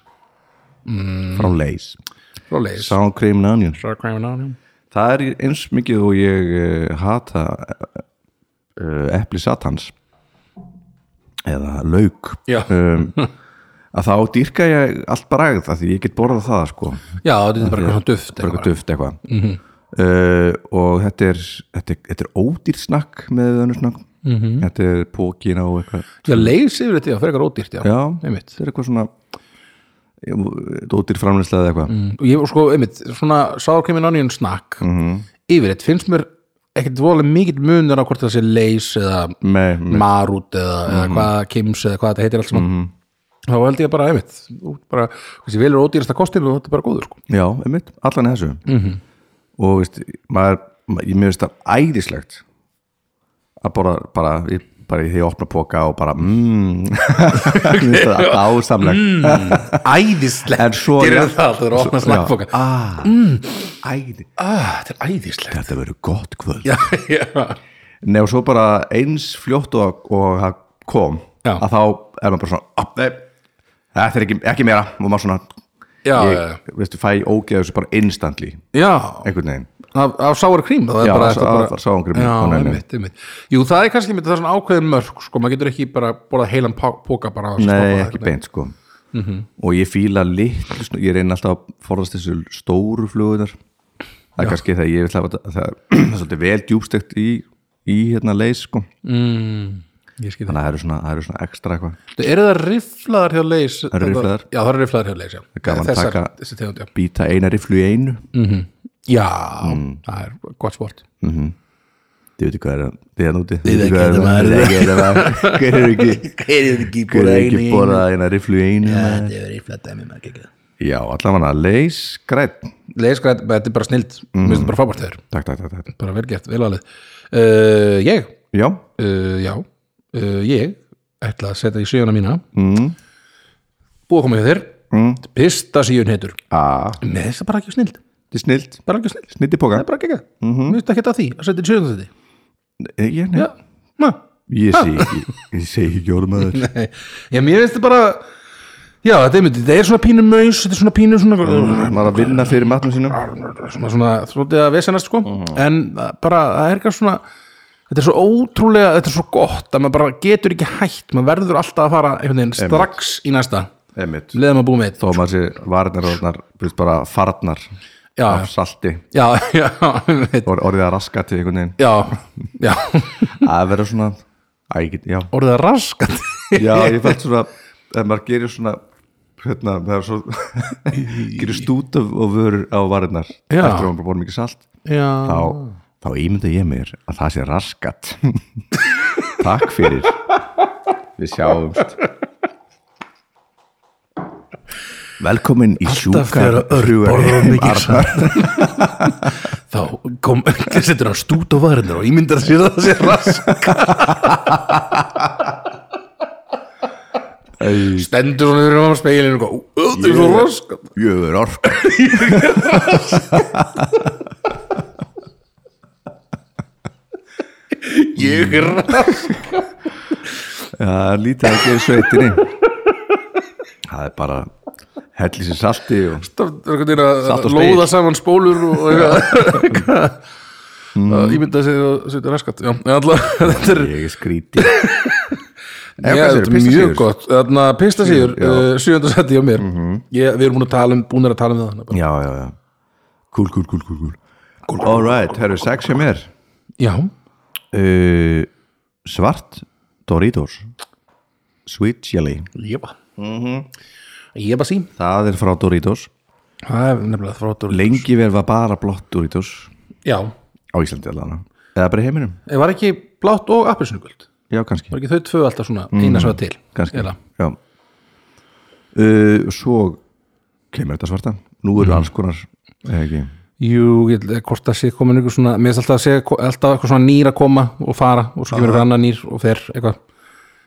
Mm. Frá Lays frá leiðis Sour cream and onion já, Það er eins mikið og ég uh, hata uh, epli satans eða lauk um, að þá dýrka ég allt bragð af því ég get borðað það sko já, þetta er bara Mhm. eitthvað svona duft bara eitthvað. eitthvað duft eitthvað uh, og þetta er, þetta er, þetta er ódýr snakk með önnur snakk Mhm. -hmm. þetta er pókina og eitthvað já, leiðis yfir þetta, já, fyrir eitthvað ódýrt, já, já, einmitt þetta er eitthvað svona já, ódýr framleysla eða eitthvað Mm, og ég var sko, einmitt, svona sour cream and onion snack Mhm. yfir þetta finnst mér ekkert voðalega mikill munur á hvort það sé leys eða með, með marút eða, eða Mhm. hvað kims eða hvað þetta heitir allt saman þá held ég bara einmitt þú bara, þessi velur ódýrasta kostin og þetta er bara góður sko. já, einmitt, allan í þessu Mhm. -hmm. og veist, maður ma- ég mér veist það æðislegt að borða bara, ég, bara í því að opna póka og bara mmm mér veist það ásamlegt mm. æðislegt, en svo gerir það þú eru að opna Svo- já. snakkfoka ah, æði ah, þetta er æðislegt þetta verður gott kvöld já, já, Nei og svo bara eins fljótt og, og það kom Já. að þá er maður bara svona "Ah, nei, þetta er ekki, ekki meira og maður svona já, já, ég, veistu, fæ ógeðu þessu bara instantly já. einhvern veginn Af, af sour cream það er Já, bara, af- þetta er af- bara af sour cream, já, já, nei, nei. einmitt, einmitt. jú, það er kannski einmitt, það er svona ákveðin mörg sko, maður getur ekki bara bólað heilan pá- póka bara að stoppa Nei, Mhm. það, ekki beint sko og ég fíla litlu snu- ég reyna alltaf að forðast þessu stóru flugunar það er kannski þegar ég vil hafa það, það er svolítið vel djúbstekt í, í hérna leys sko ég skil það. þannig að það eru svona, það eru svona ekstra eitthvað eru það rifflaðar hjá leys já, eru rifflaðar. það eru rifflaðar hjá leys já. gaman að Þessar- taka- þessi tegund, já býta eina riflu í einu Mm. Já, Mm. það er gott sport Þið veitir hvað er að þið er núti Þið veit veitir ekki hvað er hvað að maður þið veitir hvað er að Hver er ekki Hver er ekki Hver er ekki borðað eina riflu í einu maður? Það er eitthvað dæmi maður ekki Já, allavega leys grætt Leisgræð, sko, þetta er bara snild Mér finnst bara fábært þeir, Takk, takk, takk, takk bara vel gert, vel alveg uh, Ég, Já, uh, já uh, Ég ætla að setja í sjöuna mína mm, Búið að koma hjá þér Mm. Pista síðun heitur a, Nei, það er bara ekki snild Ah. þetta er snilt Bara ekki snild, Snilt í það póka er bara ekki ekki Mér finnst ekki þetta því, að setja í sjöuna þetta Eh, Ég, nei, Já, maður ég segi ekki Ég segi ekki orðum að þess Nei, já, mér finnst þetta bara Já, þetta er, þetta er svona pínu maus Þetta er svona pínu svona Maður að vinna fyrir matnum sínum Mhm. svona, svona, svona, svona að vesenast sko en uh, bara, það er eitthvað svona þetta er svo ótrúlega, þetta er svo gott að maður bara getur ekki hætt, maður verður alltaf að fara einhvern veginn strax í næsta Um einmitt leðum að búið með þó að maður sé varnar orðnar búið bara farnar Já. af salti já, já, einmitt. og orðið að raska til einhvern veginn já, já að vera svona Æ, ég get, já. orðið að raskat já, ég fælt svona ef maður gerir svona hérna, það er svo gerir stút af og vörur á varnar Já. eftir að maður búið mikið salt já, þá, þá ímynda ég mér að það sé raskat takk fyrir við sjáumst velkomin í alltaf þegar sjúkar örg borður mikið satt þá kom setur hann stút á varinnar og ímyndar sér að það sé rask stendur svona fyrir hann speilin og góð, þetta er svo rask ég er ork ég er rask Já, lítið að gera í sveitinni Það er bara helli sér salti og Það er einhvern Salt og veginn að spegill. lóða saman spólur og eitthvað mm. ímynda sér að setja raskat já, en alltaf, þetta er ég er skríti Já, hvað segirðu, þetta er mjög pistasíður? gott Þarna, pistasíður, Já. uh, sjöndasætti hjá mér ég, Við erum búin að tala um, búin að tala um það hana bara. Já, já, já Kúl, kúl, kúl, kúl, kúl All right, herru, sex hjá mér Já, uh, Svart Doritos Sweet Jelly ég bara Mhm. Ég bara sím Það er frá Doritos Það er nefnilega þróttur Lengi verið var bara blott Doritos Já, á Íslandi allan Eða bara í heiminum það Eh, var ekki blátt og appisnugöld Já, kannski Var ekki þau tvö alltaf svona eina sem var til kannski Eða. já uh, svo kemur þetta svarta nú eru alls konar eða ekki Jú, ég held að hvort það sé komin ykkur svona Mér er alltaf að sé alltaf eitthvað svona nýr að koma og fara og svo kemur eitthvað annar nýr og fer eitthvað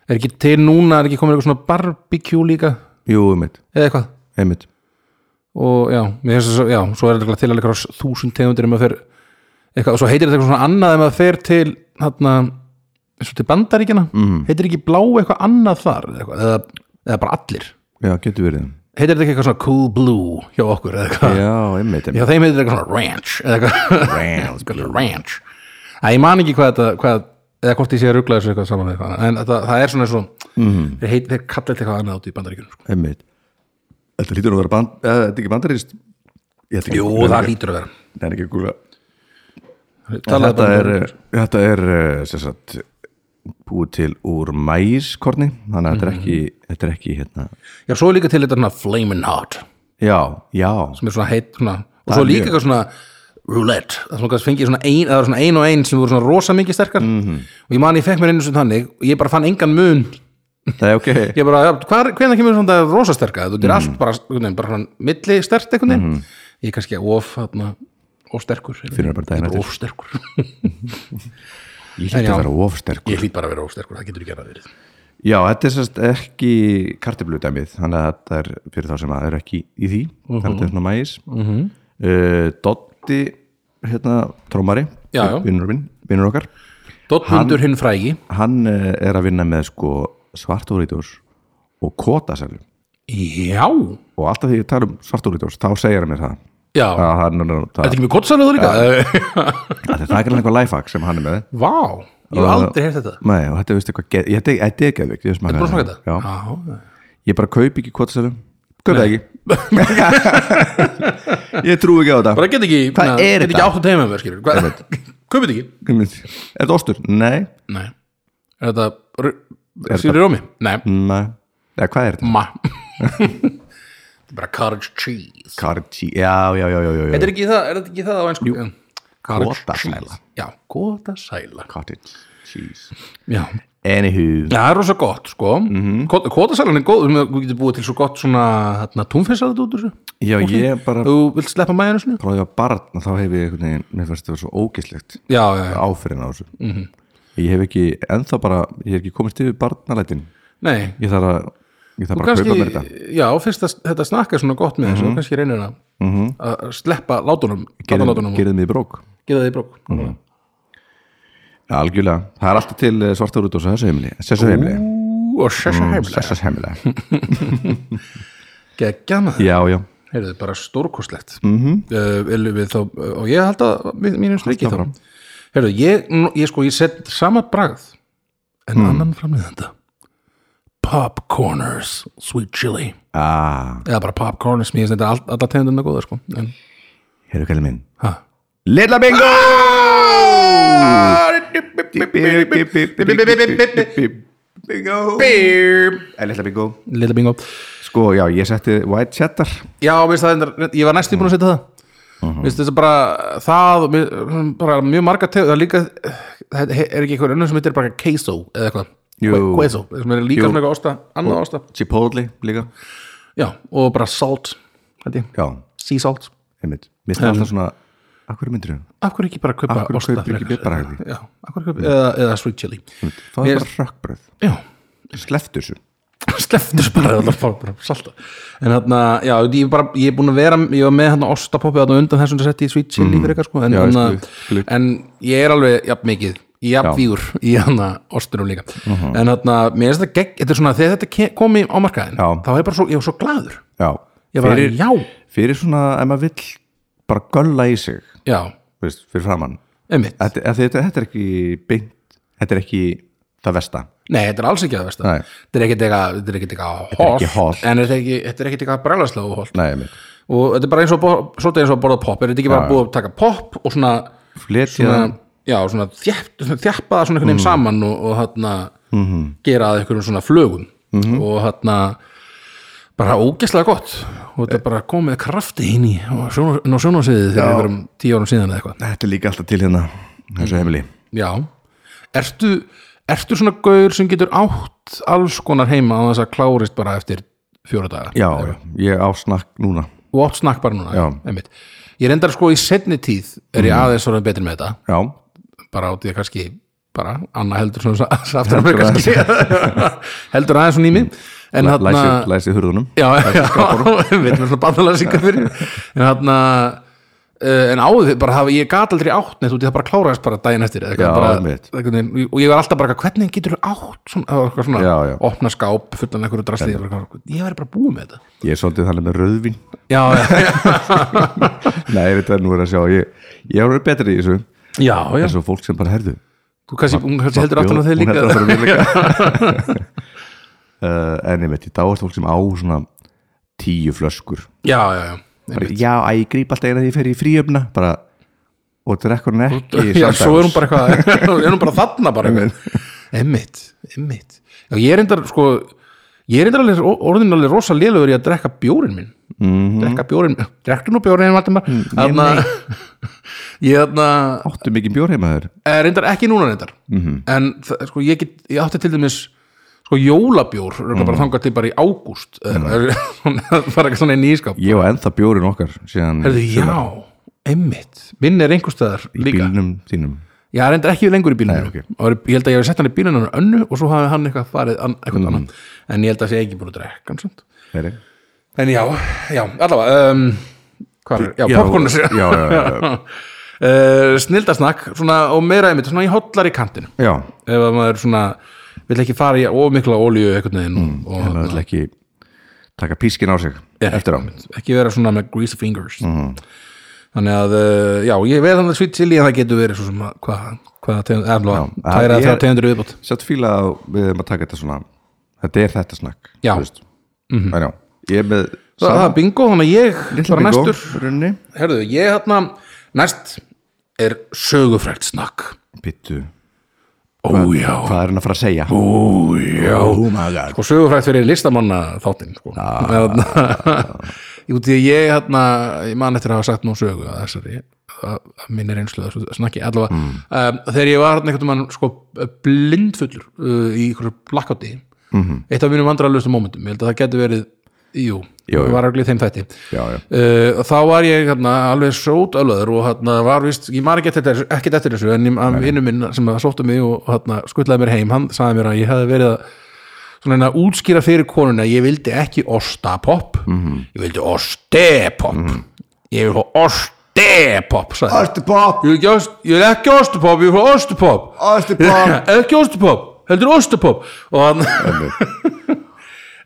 Er ekki til núna, er ekki komin eitthvað svona barbecue líka jú, einmitt, eða eitthvað einmitt og já, mér finnst þess að, já, svo er þetta til alveg einhverjar þúsund tegundir um að fer eitthvað, og svo heitir þetta eitthvað svona annað um að fer til hérna, eins og til bandaríkjana mm. heitir ekki blá eitthvað annað þar eða, eitthvað, eða, eða bara allir já, getur verið heitir þetta ekki eitthvað svona cool blue hjá okkur eða eitthvað, já, einmitt, já einmitt. þeim heitir þetta eitthvað svona ranch eða eitthvað, Brands. eitthvað ranch að ég man ekki hvað þetta hvað, eða hvort ég sé að ruggla þessu eitthvað saman við eitthvað annað. en þetta, það er svona eins og mm. Mhm. þeir, heit, þeir kalla þetta eitthvað annað út í bandaríkjunum sko. einmitt þetta lítur að vera band eða þetta er ekki bandarist jú, það lítur að vera það er ekki að googla. Talaðu þetta bara um er, þetta er eh, sem sagt búið til úr mæskorni þannig að þetta er ekki, þetta er ekki hérna. Já, svo er líka til þetta flamin' hot já, já, sem er svona heitt svona, og svo líka eitthvað svona roulette, það sem kannski fengið svona ein, það var svona ein og ein sem voru svona rosa mikið sterkar Mhm. -hmm. og ég man ég fekk mér einu sem þannig og ég bara fann engan mun það er ok ég bara, ja, hvar, hvernig kemur svona það rosa sterka þetta er Mhm. allt bara, einhvern veginn, bara svona milli stert einhvern veginn, ég er kannski of þarna, of sterkur Finnur bara daginn Ég er eftir. of sterkur, ég hlýtti já. að vera ofsterkur ég hlýt bara að vera of sterkur það getur ekki að vera verið Já, þetta er sérst ekki kartibludæmið, þannig að þetta er fyrir þá sem að það eru ekki í því þannig að þetta er svona mægis uh Dotti, hérna, trómari Já, já. vinnur minn, vinnur okkar Dottundur hinn frægi hann eh, er að vinna með sko svartóriðurs og kótasælu Já, og alltaf því ég tala um svartóriðurs, þá segir hann mér það já, að hann er nú- þetta það, er ekki mjög kottsæluður líka að þetta er ekki eitthvað lifehack sem hann er með Vá, ég hef aldrei heyrt þetta Nei, og þetta er veist eitthvað, geð- ég- þetta er- þetta er geðvikt Þetta Búin að smaka þetta? Já, Já, ég bara kaup ekki kvotasælu kaup það ekki ég trú ekki á þetta bara get ekki Hvað na, er get ekki þetta? átt að teima mér skilur hvað, kaupið ekki er þetta ostur? nei, nei. er þetta ru- skilur rómi? nei, nei. Eða, hvað er þetta? ma þetta er bara cottage cheese karchi, já, já, já, já, já, þetta já. er ekki það, er þetta ekki það á einsku Kotasæla. já, kótasæla cottage cheese já, anywho, það er rosa gott sko Mhm. mm -hmm. kótasælan er góð, við getum búið til svo gott svona hérna, túnfinsælat út úr þessu já, ég bara þú vilt sleppa mæðinu sinu? prófið að barn og þá hef ég einhvern veginn, mér fannst þetta svo ógislegt já, já, já, áfyrin á þessu Mhm. ég hef ekki, ennþá bara ég hef ekki komist yfir barnalætin nei ég þarf að, ég þarf bara að kaupa mér þetta kannski, já, fyrst að þetta snakka svona gott með þessu, kannski reynir að að sleppa látunum, látunum gerðið mig í brók Mhm. geða því brók Já, algjörlega, það er alltaf til eh, svartur út og þessu heimili, þessu heimili Ú, og sessa heimlega Sessas heimilega geggja maður, Já, já, Mhm. heyrðu Eh, bara stórkostlegt mm -hmm. uh, viljum við þá, uh, og ég held að við- mínum strikið þá, áfram. Herðu, ég, nú- ég sko, ég set sama bragð en annan framleiðanda Popcorners Sweet Chili ah, eða bara Popcorners, mér finnst þetta all, alla tegundina góða sko en, heyrðu kallið minn ha, Lilla bingo Bingo Lilla bingo Lilla bingo Sko, já, ég setti white cheddar Já, mér finnst það, reyndar- ég var næstum búin að setja það Mér finnst þetta bara það, og mér- bara mjög marga tegund það er líka, það er ekki einhver önnur sem heitir bara queso eða eitthvað Jú. queso, sem er líka Jú. svona eitthvað ásta annað ásta, Chipotle líka já, og bara salt held ég, Já, sea salt einmitt Mér finnst alltaf svona Akkur myndir þau? af hverju ekki bara kaupa Af hverju osta kaupir ekki frekar? bragðið? Já, af hverju kaupa, eða, eða sweet chili Það Mér- er bara rökkbröð já, Sleft þessu sleftur bara allar fá bara salta en þarna, já, ég, er bara, ég er búin að vera ég var með hann ostapoppið þarna á undan þessum sem setti í sweet chili fyrir eitthvað sko en, Mm. Já, ég þarna- skil, skil. en ég er alveg jafn mikið jafn vígur í hann ostunum líka Mhm. en hann, mér finnst þetta gegg þetta er svona, þegar þetta ke- komi á markaðin Já. þá er ég bara svo, ég var svo gladur Já ég var Fyrir- bara, já, Fyrir svona, ef maður vill bara gölla í sig já, veist, fyrir framann einmitt þetta, þetta, þetta, þetta er ekki beint Þetta er ekki það versta Nei, þetta er alls ekki að versta Nei. Þetta er ekkit eitthvað Þetta er ekkit eitthvað er ekki holt, hollt. En þetta er ekki- þetta er ekkit eitthvað brælaslegu holt Nei, einmitt Og þetta er bara eins og, bo- svolítið eins og að borða popp Er þetta ekki bara búið að taka popp og svona, Fletja svona Já, svona þjapp- svona þjappa það svona einhvern Mm. veginn saman og, og þarna Mhm. gera að einhverjum svona flögum og þarna bara ógeðslega gott og Eh. þetta er bara komið krafti inn í á sjónar- inn á sjónarsviðið þegar einhverjum tíu árum síðan eða eitthvað Þetta er líka alltaf til hérna Mm. Þessu heimili Já, ertu, ertu svona gaur sem getur átt alls konar heima á þess að klárist bara eftir fjóra daga Já, já, ég á snakk núna og átt snakk bara núna Já. Mhm. einmitt. Ég reyndar sko í setni tíð er ég aðeins svona betur með þetta Já, bara átti ég kannski bara Anna heldur svona aftur að mér kannski heldur aðeins svona í mig en læ- þarna læsi, læsi hurðunum já, já, við erum svona bandalansingar fyrir en þarna eh, en áður fyrir, bara hafa, ég gat aldrei átt neitt út í það bara kláraðist bara daginn eftir eða eitthvað, Já, bara, einmitt. eitthvað, neginn, og ég var alltaf bara eitthvað, hvernig getur átt svona, það var eitthvað svona Já, já. opna skáp fullan einhverju drasli ég var bara, ég væri bara búið með þetta Ég er svolítið þannig með rauðvín já, já, Nei, ég veit það nú er að sjá Ég, ég er orðið betri í þessu já, já. Þessu fólk sem bara herðu þú kannski, hún kannski heldur aftur á Hún þeir líka heldur aftur á mér líka uh, En ég veit, ég dáast fólk sem á svona tíu flöskur já, já, já bara, Já, að ég grýp alltaf eina því ég fer í fríöfna bara, og drekkur hún ekki já, samdægurs. svo er hún bara eitthvað er hún bara þarna bara eitthvað emmitt, emmitt já, ég er reyndar sko ég er reyndar alveg, orðin alveg rosa lélugur í að drekka bjórin minn mm. drekka bjórin, drekka nú bjórin Valdimar þarna ég þarna Áttu mikið bjór heima þér er reyndar ekki núna reyndar -hmm. en það- sko ég get, ég átti til dæmis sko jólabjór, mm bara þangað til bara í ágúst mm. það var ekki svona í nýskap Ég var ennþá bjórin okkar síðan Herðu, já, emmitt minn er einhverstaðar í líka bílnum þínum Já, hann reyndar ekki lengur í bílunum Nei, og ég held að ég hef sett hann í bílunum hann önnu og svo hafi hann eitthvað farið an, eitthvað annan en ég held að sé ekki búin að drekka hann samt. Heri. En já, já, allavega um, Hvað er, já, Já, popcornus já, já, já, já. uh, Snildasnakk svona, og meira einmitt, svona í hóllar í kantinu Já, ef að maður svona, vill ekki fara í of mikla olíu eitthvað neginn mm, og hann vil ekki taka pískin á sig eftir á ekki vera svona með greasy fingers þannig að uh, já, ég veið þannig að svitt til ég að það getur verið svo sem að hvað, hvað, tegund, eða, að tæra ég þegar er- tegundur viðbót Satt fíla að við erum að taka þetta svona Þetta er þetta snakk Já. þú veist. En já, Ég er með Svo það er bingo, þannig að ég bara næstur, runni herðu, ég hérna næst er sögufrækt snakk Bittu, Ó já, hvað er hann að fara að segja? Ó, já maður Sko sögufrækt fyrir listamanna þáttinn sko. ah. Út í að ég hérna, ég man eftir að hafa sagt nú sögu að þessari, að að minni reynslu að þessu snakki allavega um, Þegar ég var einhvern veginn sko blindfullur uh, í einhverju blackouti Eitt af mínum vandrarlustum momentum, ég held að það geti verið Jú, Jú, jú. það var alveg í þeim þætti Já, já. Uh, þá var ég hérna, alveg sót alvöður og hérna, var vist, ég man ekki eftir, ekki eftir þessu en ég- að vinnu minn sem að sóttu mig og hérna, skuttlaði mér heim, hann sagði mér að ég hefði verið að svona hérna, útskýra fyrir konuna að ég vildi ekki ostapopp -hmm. Mhm. ég vildi ostepopp ég vil fá ostepopp sagði hann. ég Östupopp, vil ekki ost- ég vil ekki ostepopp, ég vil fá ostepopp Oh. östupopp ekki ostupopp, heldur ostupopp og hann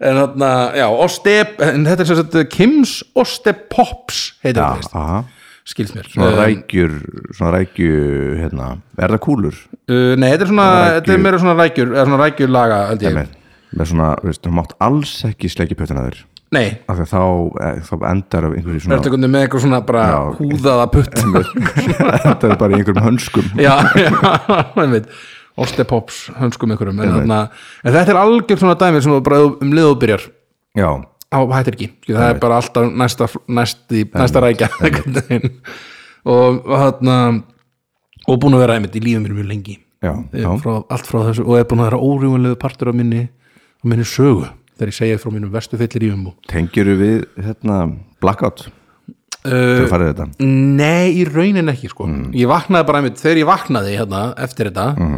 en hann, já, ostep en þetta er sem sagt Kims Ostepops heitir það, veist. skilst mér Ah, svona Eh, rækjur svona rækju, hérna, er það kúlur Uh, nei, þetta er svona, þetta er meira svona rækjur eða svona rækjur laga, held ég með, með svona, þú veist, þú mátt alls ekki sleikja pötuna þér Nei, af því að þá, eh, þá endar af einhverju þetta er svona með eitthvað svona bara Já. húðaða putt endar bara í einhverjum hönskum Já, já, einmitt Ostepops, hönskum einhverjum en, þarna, en þetta er algjör svona dæmi sem þú bara um liðu byrjar já, á hættir ekki Skil, það er bara alltaf næsta, næsti, næsta rækja einhvern veginn. og þarna og búin að vera einmitt í lífum mér mjög lengi já, Ég já, er frá, allt frá þessu og er búin að vera órjúinlegu partur á minni, á minni sögu þegar ég segja frá mínum verstu fyllir í um tengjur við hérna, blackout uh, þau farið þetta Nei, í raunin ekki sko Ég vaknaði bara einmitt, þegar ég vaknaði hérna eftir þetta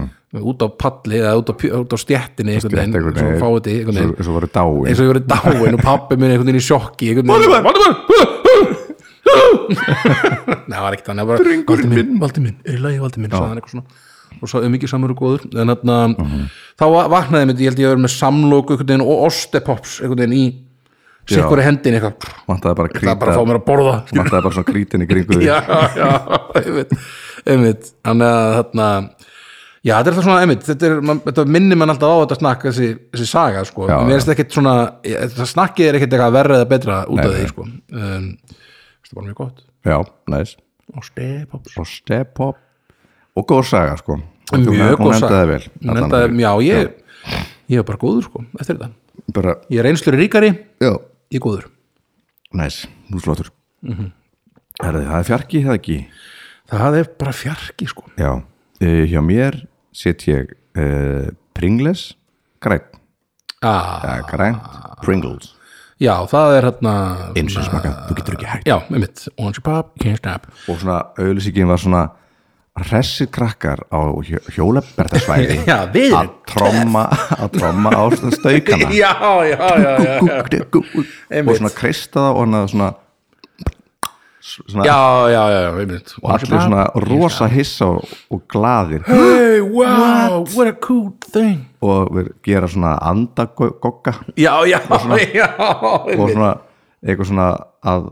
út á palli eða út á, pj- út á stjettinni einhvern veginn, Þetta svo fáið þetta svo, einhvern veginn svo voru dáin eins og ég verið dáin og pappi minn einhvern veginn í sjokki Valdimar, Valdimar Nei, það var ekkert þannig bara, Valdimar minn, Valdimar minn, er í lagi Valdimar minn sagði hann eitthvað svona og svo um ekki samur og góður en þarna, Mhm. þá va- vaknaði mér, ég held ég að vera með samlóku einhvern veginn og ostepops einhvern veginn í sikkori hendin eitthvað, vantaði bara það er bara að krýta fá mér að borða vantaði bara svona krítin í kringu því já, já, einmitt einmitt, þannig að þarna já, þetta er það svona, einmitt, þetta, er, man, þetta minnir mann alltaf á þetta snakk, þessi, þessi saga sko, Já, mér finnst ekkit svona þetta snakkið er ekkit eitthvað verra eða betra út af því sko, um, þetta er bara mjög gott já, næs og stepops og step-hop og góð saga sko mjög hún góð endaði vel Hún Allan endaði- vel. já, ég, ég er bara góður sko, eftir þetta bara, ég er einslur ríkari, já, ég er góður næs, nú flottur Mhm. Herði, það er fjarki, það ekki það er bara fjarki sko já, uh, hjá mér set ég uh, Pringles grænt, ah, ja, grænt Pringles, já, það er hérna eins og smakað þú getur ekki hægt já, einmitt, orange pop, can't stop og svona auðlýsingin var svona hressir krakkar á hjólabertasvæði já, við að tromma að tromma á staukana já, já, já, já. og svona kristaða og hann svona svona já, já, já, já, einmitt og allir svona rosa hissa og, og glaðir hey, wow, what? a cool thing og við gera svona andagogga já, já, já, og einmitt svona eitthvað svona að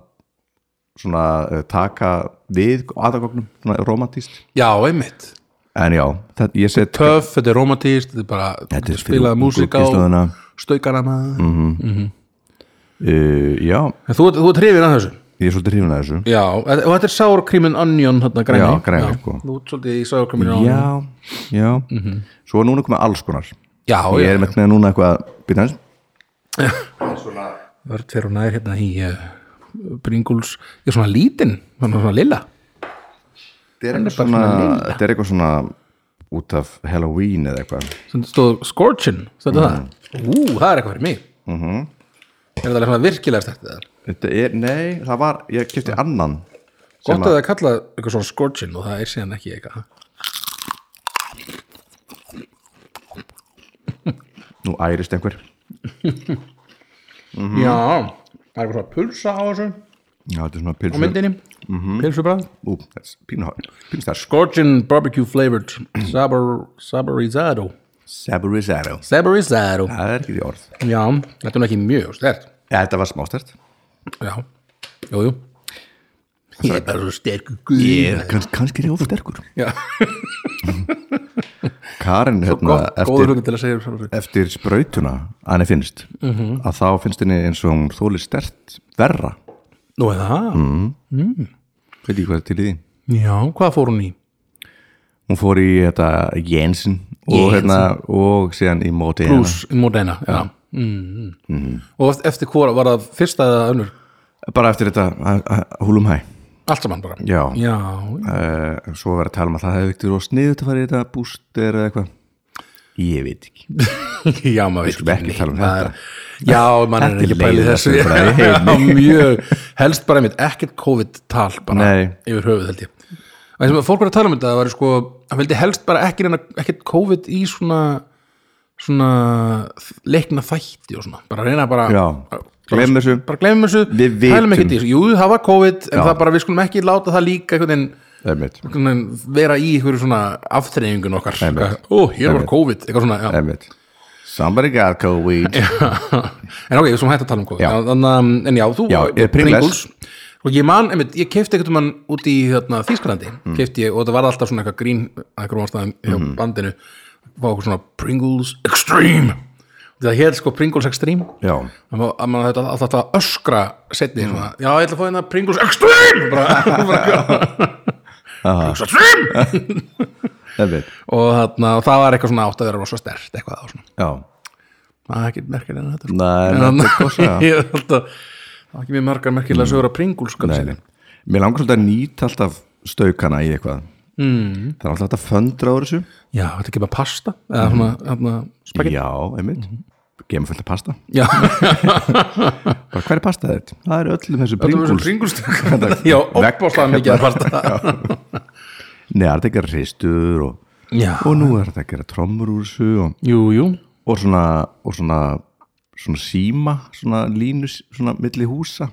svona eh, taka við andagognum, svona romantist já, einmitt en já, þetta, ég set töff, þetta er romantíst, þetta er bara Þetta er fyrir spilaði ungu músika kynslóðina. og staukana maður mm. uh, já, þú, þú er trefin að þessu ég er svolítið hrifin að þessu já, og þetta er sour cream and onion hérna græni Já, græni, sko. þú ert svolítið í sour cream and onion já, Mhm. já svo er núna komið alls konar já, ég já, er með með núna eitthvað býta eins verð fyrir og nær hérna í uh, Pringles, ég er svona lítinn svona, svona lilla þetta er eitthvað svona, þetta er eitthvað svona út af Halloween eða eitthvað sem stóð Scorchin stóð það? Ú, það er eitthvað fyrir mig Mhm. Er þetta alveg svona virkilega stætt það? þetta er, nei, það var, ég kefti annan Gott að það kalla eitthvað svona Scorchin og það er síðan ekki eitthvað nú ærist einhver Já, það er eitthvað svona pulsa á þessu já, þetta er svona á pilsu myndinni mm -hmm. Pilsubræð ú, það er pínu hár pínu starf Scorchin barbecue flavored sabor, Saborizado saborizado Saborizado það er ekki því orð Já, þetta er nú ekki mjög stert ja, þetta var smástert Já, jú, jú Ég er bara svo sterkur guð er kanns, kannski rjóð sterkur Já, Karin, hérna, gott, góður eftir, hugmynd til að segja um sjálfur sig. eftir sprautuna að henni finnst að þá finnst henni eins og hún þóli stert verra Nú er það veit ég hvað er til í því Já, hvað fór hún í? hún fór í þetta Jensen og, Jensen. hérna, og síðan í móti hérna. Bruce Modena já. Mm. Mhm. og eft- eftir hvora var það fyrsta eða önnur bara eftir þetta a- a- húlum hæ allt saman bara já, já, Uh, svo var að tala um að það hefði ekkert verið sniðut að fara í þetta búster eða eitthvað ég veit ekki já maður veit skulum ekki tala um maður- já, maður er Þetta er ekki bælið leiðilegasta þessu umræða í já, mjög, helst bara mitt ekkert COVID-tal bara Nei. yfir höfuð held ég og þessum að fólk var að tala um þetta það var sko, hann vildi helst bara ekki reyna, ekkert COVID í svona svona leikna þætti og svona, bara reyna bara já, glemm þessu bara glemum þessu, Við vitum. pælum ekkert í þessu jú, það var COVID, en það bara, við skulum ekki láta það líka einhvern veginn það er mitt, einhvern veginn vera í einhverju svona aftreyingun okkar Einmitt. Eitthvað, ó, hér var Einmitt. Eh, COVID, eitthvað svona já. það er mitt somebody got COVID en ok, við sem hægt að tala um COVID Já. En- en, um, en já, þú Já, ég er Pringles. og ég man, einmitt, ég keipti einhvern mann út í þarna, Þísklandi, mm. ég og þetta var alltaf svona eitthvað grín að einhverjum ástæðum hjá Mhm. bandinu, var okkur svona Pringles Extreme og það hér sko Pringles Extreme Já. Það var- að maður þetta alltaf að öskra setni Mm. svona, já ég ætla að fá hérna Pringles Extreme bara, bara, Pringles Extreme Einmitt. og þarna, og það var eitthvað svona átt að vera rosa stert eitthvað á svona, Já. það er ekki merkilega en þetta sko. Nei, þetta En er þarna- góð saga. ég held að það var ekki mjög margar merkilega sögur að Pringles sko, Nei, nei. Mér langar svolítið að nýta alltaf staukana í eitthvað mm. Það er alltaf að föndra úr þessu já, þetta er ekki bara pasta eða svona, hérna, spagetti Já, einmitt mm -hmm. Gemum fullt af pasta já, Bara, Hver er pasta þetta? Það er öllum þessu Pringles, bringuls Pringles. já, opbáslega mikið hérna. að pasta Nei, það er þetta að gera hristur og, já, og nú er þetta að gera trommur úr þessu og, jú, jú og svona og svona, svona síma svona línus, svona milli húsa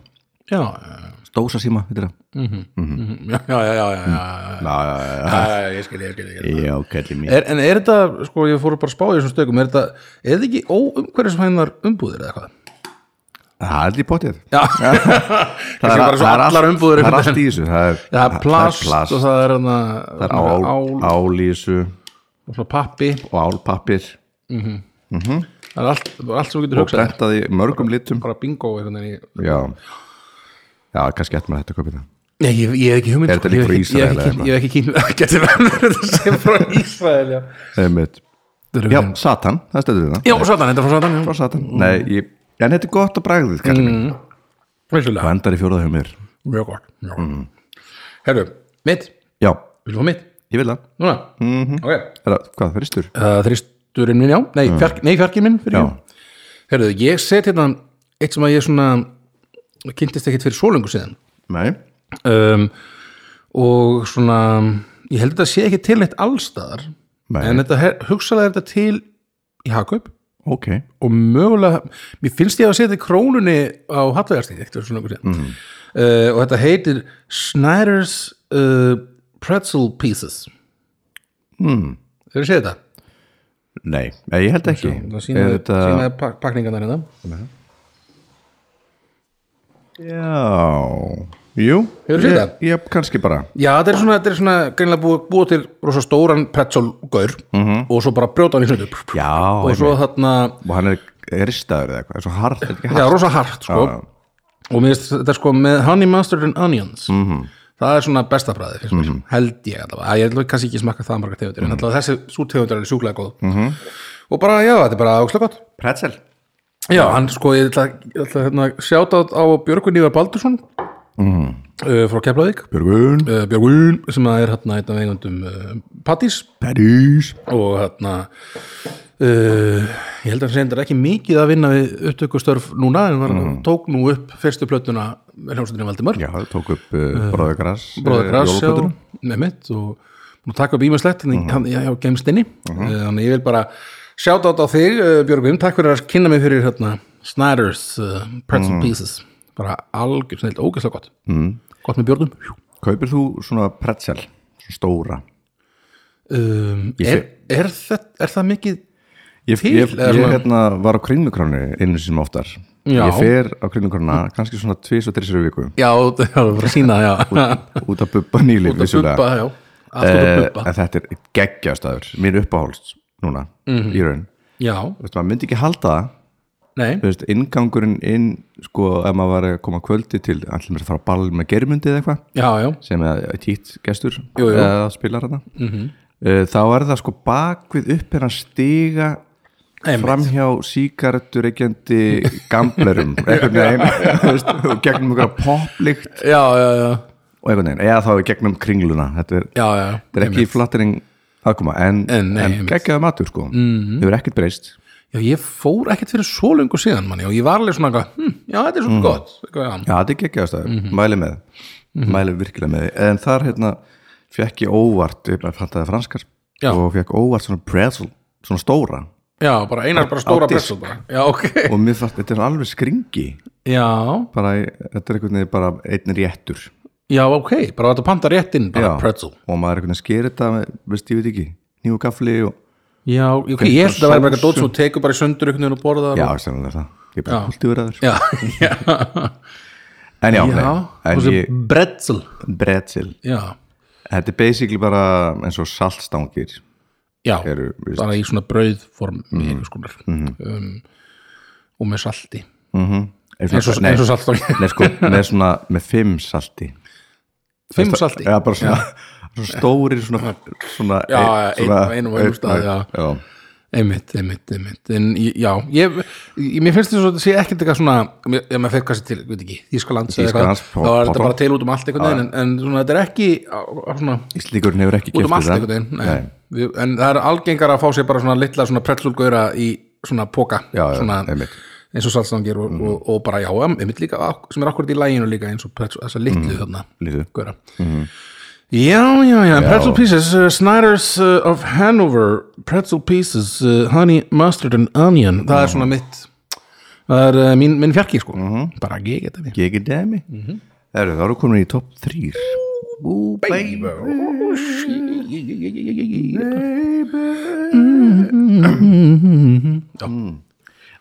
já, já, já. stósa síma, heitir það já, já, já, já, já, já. Já, já, já, já. Já, já, ég skil, ég skil, ég skil. Já, kallið mín Er, en er þetta, sko, ég fór bara að spá í þessum stökum, er þetta, er þetta ekki óumhverfisvænar umbúðir eða hvað? Það er í potið Já, það er bara svo allt- allar umbúðir Það er einhvern allt veginn. í þessu Það er, Já, það er plast, plast, og það er hana, það er ál, ál ál í þessu og svona pappi, og álpappir það er allt, bara allt sem þú getur og hugsað þér. brentaði mörgum litum bara bingo einhvern veginn í Já, já kannski ætti maður þetta að kaupa það Nei, ég, Sko, ég hef ekki hugmynd Er þetta líka frá Ísrael eða Ég hef ekki kýn, ég hef ekki kýn Geti verið þetta sem frá Ísrael Já, Einmitt. Já, Satan, það stöður það Mm. já satan, þetta er frá satan frá Satan Nei, ég, en þetta er gott að bragðið kallið mm. Vissulega, Vendar í fjóraða hjá mér mjög gott mjög gott. Herru, mitt, Já, viltu fá mitt? ég vil það Núna, Mhm. ok Herra, Hvað, fyrstur? uh, þristurinn minn, já, nei, fjark, nei fjarkinn minn fyrir Mm. Já. ekki, herruðu, ég set hérna eitt sem að ég svona kynntist ekkit fyrir svo lengur síðan Nei um, og svona ég held að þetta sé ekki til neitt allstaðar Nei. en þetta her- hugsalega er þetta til í Hakaup Ok, og mögulega, mér finnst ég að setja krónunni á hattvegarstíð ekkert fyrir svo lengur síðan Mhm. mm. uh, og þetta heitir Snyder's uh, Pretzel Pieces mm. Þeir séð þetta? nei, nei, ég held ekki Það Er sínaði, þetta þetta... sínaði pak pakningarnar hérna Já, jú Hefurðu séð Ég- það? Já, kannski bara Já, þetta er svona, þetta er svona greinlega búið, búið til rosa stóran pretzelgaur og svo bara brjóta hann í sundur Mhm. Já, og svo þarna, Og hann er er ristaður eða eitthvað, er svo hart er ekki já, hart rosa hart sko. Já. og mér finnst þetta sko með honey mustard and onions Mhm. það er svona besta bræði finnst mér, held ég allavega, Æ, ég held kannski ekki smakka það marga tegundir, en Mhm. allavega þessi sú tegundir er alveg sjúklega góð og bara, já, þetta er bara ókslega gott Pretzel Já, hann sko, ég ætla, ég ætla hérna, sjáta á Björgun Ívar Baldursson Mhm. uh, frá Keflavík Björgun uh, Björgun sem að er hérna einn af eigundum uh, Pattís Paris og hérna uh, ég held að hann segir ekki mikið að vinna við upptökustörf núna en var, tók nú upp fyrstu plötuna með hljómsveitinni um Valdimar Já, það tók upp Eh, uh, Bróðagras bróður Grass og með mitt og nú taka upp ímestlegt mm -hmm. hann, já, já, gemstinni mm þannig ég vil bara sjáta á þig uh, Björgum, takk fyrir að kynna mig fyrir hérna, Snyder's uh, Pretzel Pieces bara algjör snill, ógeðslega gott mm. gott með Björgum Kaupir þú svona pretzel, svona stóra um, Ég er, er, það, er það mikið Ég, Til, ég, eða ég svona- hérna var á kringlukránu einu sem oftar Já. Ég fer á kringlukrána kannski svona tvis og þrísir viku já, það er bara að sína já. út að bubba nýli út að bubba, já allt út að bubba, Eh, En þetta er geggjastaður, mér uppáhálst núna Mhm. í raun já, Þú veist, maður myndi ekki halda það nei Þú veist, inngangurinn inn sko, ef maður var að koma að kvöldi til allir mér að fara á ball með germundi eða eitthvað já, já, sem er títt gestur Jú, Mhm. jú. eða spilar hana mm þá er það sko bakvið upp hérna stiga Einmitt. framhjá síkartureikjandi gamblerum einhvern veginn þú veist, og gegnum einhverja poplikt já, já, já, og einhvern veginn, eða þá í gegnum kringluna þetta er, já, já. þetta er ekki flattering aðkoma, en, En, nei, en einmitt. Mhm. geggjaðu matur sko mm hefur ekkert breyst Já, ég fór ekkert fyrir svo lengur síðan manni og ég var alveg svona eitthvað, hm, já, þetta er svona gott eitthvað, já. Já, þetta er geggjaðastæður, Mhm. mæli með mæli virkilega með, því. en þar hérna fekk ég óvart, ég bara fann það franskar Já. og fekk óvart svona pretzel svona stóra já, bara einar bara stóra á disk. pressur bara, já, ok og mér fannst, þetta er alveg skringi Já, bara, í- þetta er einhvern veginn bara einn réttur já, ok, bara þetta panta rétt inn bara Já. pretzel og maður er einhvern veginn að skera þetta með, veist, ég veit ekki, nýju gafli og, Já, ok, ég held að það væri bara eitthvað dót sem þú tekur bara í sundur einhvern veginn og borða það já, sem það er það ég er bara Já. kultúraður já, já, en já, já, nei, og en sem ég, bretzel bretzel já, þetta er basically bara eins og saltstangir já Eru, víst. bara í svona brauðform mm um, og með salti eins og, eins og saltstokk Nei, sko, með svona, með fimm salti fimm salti Já, bara svona, svona stórir svona, svona, Já, eh, ein- einum og einum einn- stað, já. já. einmitt, einmitt, einmitt en í- já, ég, ég mér finnst þess að það sé ekkert eitthvað svona, mér- ef maður fekk kannski til veit ekki, Þískalands eða Þýskalands, eitthvað þá er þetta Portland. bara til út um allt einhvern veginn en, en svona, þetta er ekki á, á, svona, Íslíkurinn hefur ekki út um allt keypt einhvern þetta. veginn nei. Við, en það er algengar að fá sér bara svona litla svona pretzelgöra í svona póka Já, já, svona, einmitt. Mhm. eins og saltstangir og, og, og bara já, einmitt líka ak- sem er akkurat í læginu líka eins og pretzel, þessa litlu þarna Mhm. Litlu. Mhm. göra Já, já, já, pretzel pieces uh, Snyder's uh, of Hanover pretzel pieces, uh, honey, mustard and onion, það Mhm. er svona mitt það er uh, mín, minn fjarki sko Mhm. bara ekki, þetta við Gigi Demi Það eru, þá eru komin í topp þrýr Ú, baby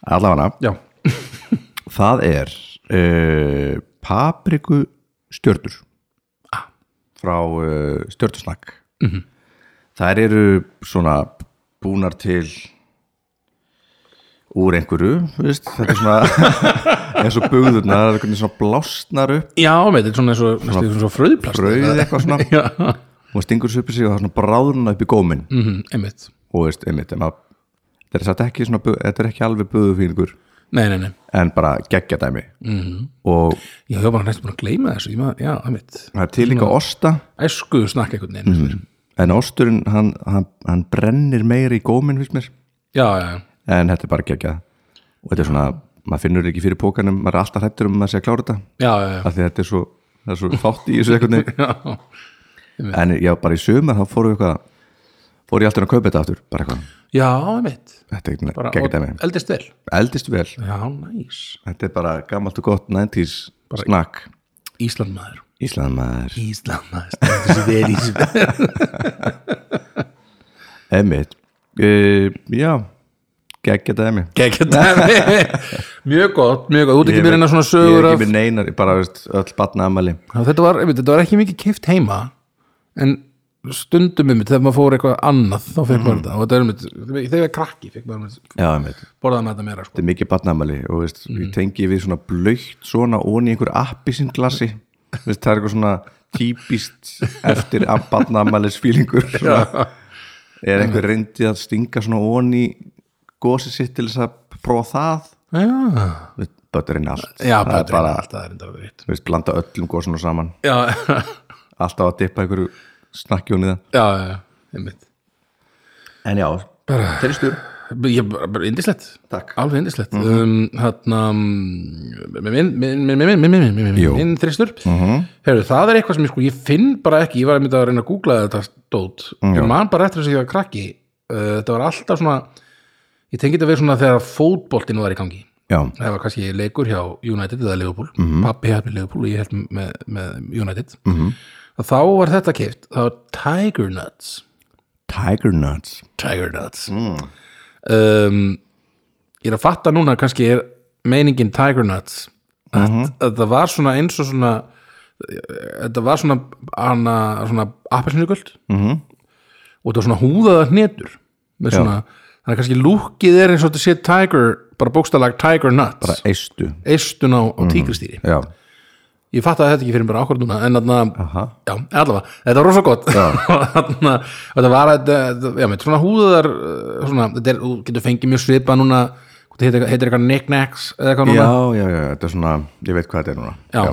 Allavega, Já, það er uh, papriku stjördur frá uh, stjördusnakk mm þær eru svona búnar til úr einhverju þú veist, þetta er svona eins og bugðurnar, það er einhvern veginn svona blásnar upp já, með þetta er svona eins og, svona, svona fröðplast brauð eitthvað svona og stingur þessu upp í sig og það er svona bráðuna upp í gómin mm einmitt, og veist, einmitt, en að, þetta, er satt ekki svona, bu- þetta er ekki alveg buðufílingur nei, nei, nei en bara geggja dæmi -hmm. og Já, ég var bara næstum búin að gleyma þessu ég maður, Já, það mitt það er til líka osta Æsku snakka einhvern veginn Mhm. mm. en osturinn hann, hann, hann brennir meira í gómin fyrst mér Já, já, já. en þetta er bara geggjað og þetta er svona, maður finnur ekki fyrir pókanum maður er alltaf hrættur um að sé að klára þetta já, já, já. af því þetta er svo, það er svo fátt í þessu einhvern veginn já. en já, bara í sömur þá fóru eitthvað fór ég alltaf að kaupa þetta aftur bara eitthvað, Já, það mitt þetta er Bara, geggjað og- dæmi Eldist vel eldist vel, Já, næs þetta er bara gammalt og gott 90s snakk Íslandmaður Íslandmaður, Íslandmaður Eldist vel Íslandmaður emmitt uh, já, geggjað dæmi Gekka dæmi Mjög gott, mjög gott Þú ert ekki mér einna svona ég sögur er af ekki með neinar, bara veist, öll batna amali Já, þetta, var, einmitt, þetta var ekki mikið keift heima En stundum einmitt um Þegar maður fór eitthvað annað Þá fekk maður þetta Og þetta er einmitt Þegar ég var krakki Fekk maður einmitt já, emmitt Borðaði með þetta meira sko. þetta er mikið barnamæli og veist, ég tengi við svona blöytt svona ón í einhver appi sinn glasi veist, það er eitthvað svona típist eftir að barnamælis fílingur svona. er einhver reyndi að stinga svona ón í gósi sitt til þess að prófa það Já, Veist, bötterinn er allt já það bara, er bara, Alltaf er þetta verið veist, blanda öllum gósinu saman Já, alltaf að dippa einhverju snakkjóni það já, já, já, einmitt en já, þeirristur ég bara, bara indislegt, Takk. alveg indislegt Mhm. um, hérna mm, minn, minn, minn, minn, minn, minn, minn, minn, Jú. Mhm. minn þristur, herru, það er eitthvað sem ég sko, ég finn bara ekki, ég var einmitt að reyna að googla þetta dót, ég man bara eftir þess að ég var krakki, uh, þetta var alltaf svona ég tengi þetta við svona þegar fótboltinn var í gangi, já, það var kannski leikur hjá United eða Liverpool, pappi hefði Liverpool og ég held með, með United -hmm. þá var þetta keift, það var Tiger Nuts Tiger Nuts Tiger Nuts um, Ég er að fatta núna kannski er meiningin Tiger Nuts að, að það var svona eins og svona þetta var svona hana, svona appelsinugöld -hmm. og þetta var svona húðaða hnetur með svona, þannig að kannski lúkið er eins og þetta sé Tiger, bara bókstalag Tiger Nuts, bara eistu, eistun á, á tígristýri já, Ég fatta að þetta ekki fyrir bara ákvörð núna en þannig að aha Já, en allavega, þetta var rosa gott Þarna, þetta var þetta, þetta- já, með svona húðar uh, svona, þetta er, þú getur fengið mjög svipa núna hvað heitir, eitthvað- heitir eitthvað knickknacks eða eitthvað já, núna já, já, þetta er svona, ég veit hvað þetta er núna Já.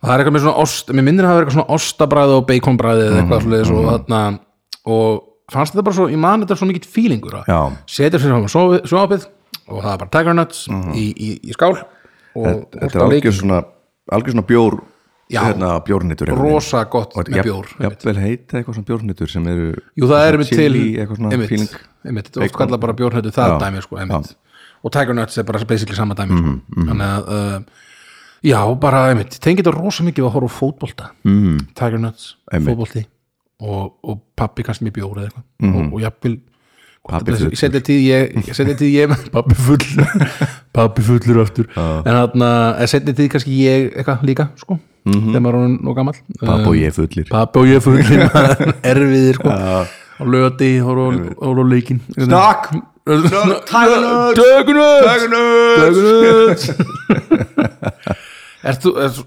og það er eitthvað með svona ost mér minnir að það vera eitthvað svona ostabræði og baconbræði eða Mhm, eitthvað svoleiðis og þarna og fannst þetta bara svo, ég man þetta er svo mikill feelingur að Já. setja sér fram á sofi- sjónvarpið og það er bara tiger nuts í, í, í skál og Mhm. þetta er algjör svona, algjör svona bjór Já. hérna, bjórnitur einhvern veginn. rosa gott Og með jafn- bjór einmitt. jafnvel heita eitthvað svona bjórnitur sem eru Jú, það er einmitt til chili, eitthvað svona einmitt, fíling einmitt, þetta er oft kallað bara bjórnættu það Já, Mhm, dæmi sko, einmitt og Tiger Nuts er bara basically sama dæmi sko. þannig að uh, já, bara einmitt, tengi þetta rosa mikið við að horfa á fótbolta, mm. Tiger Nuts Mhm. Einmitt. Mhm. fótbolti og, og pappi kannski með bjór eða eitthvað og, og jafnvel Pabbi fullur. setja tíð ég, ég setja tíð ég pabbi fullur pabbi fullur aftur en þarna, eh, setja tíð kannski ég eitthvað líka sko, þegar maður er orðinn nóg gamall Papp og ég fullir pabbi og ég fullir maður, erfiðir sko á lögati, horf á leikin Snakk! Tægunöð! Dögunöð Tægunöð! Ert þú, ert,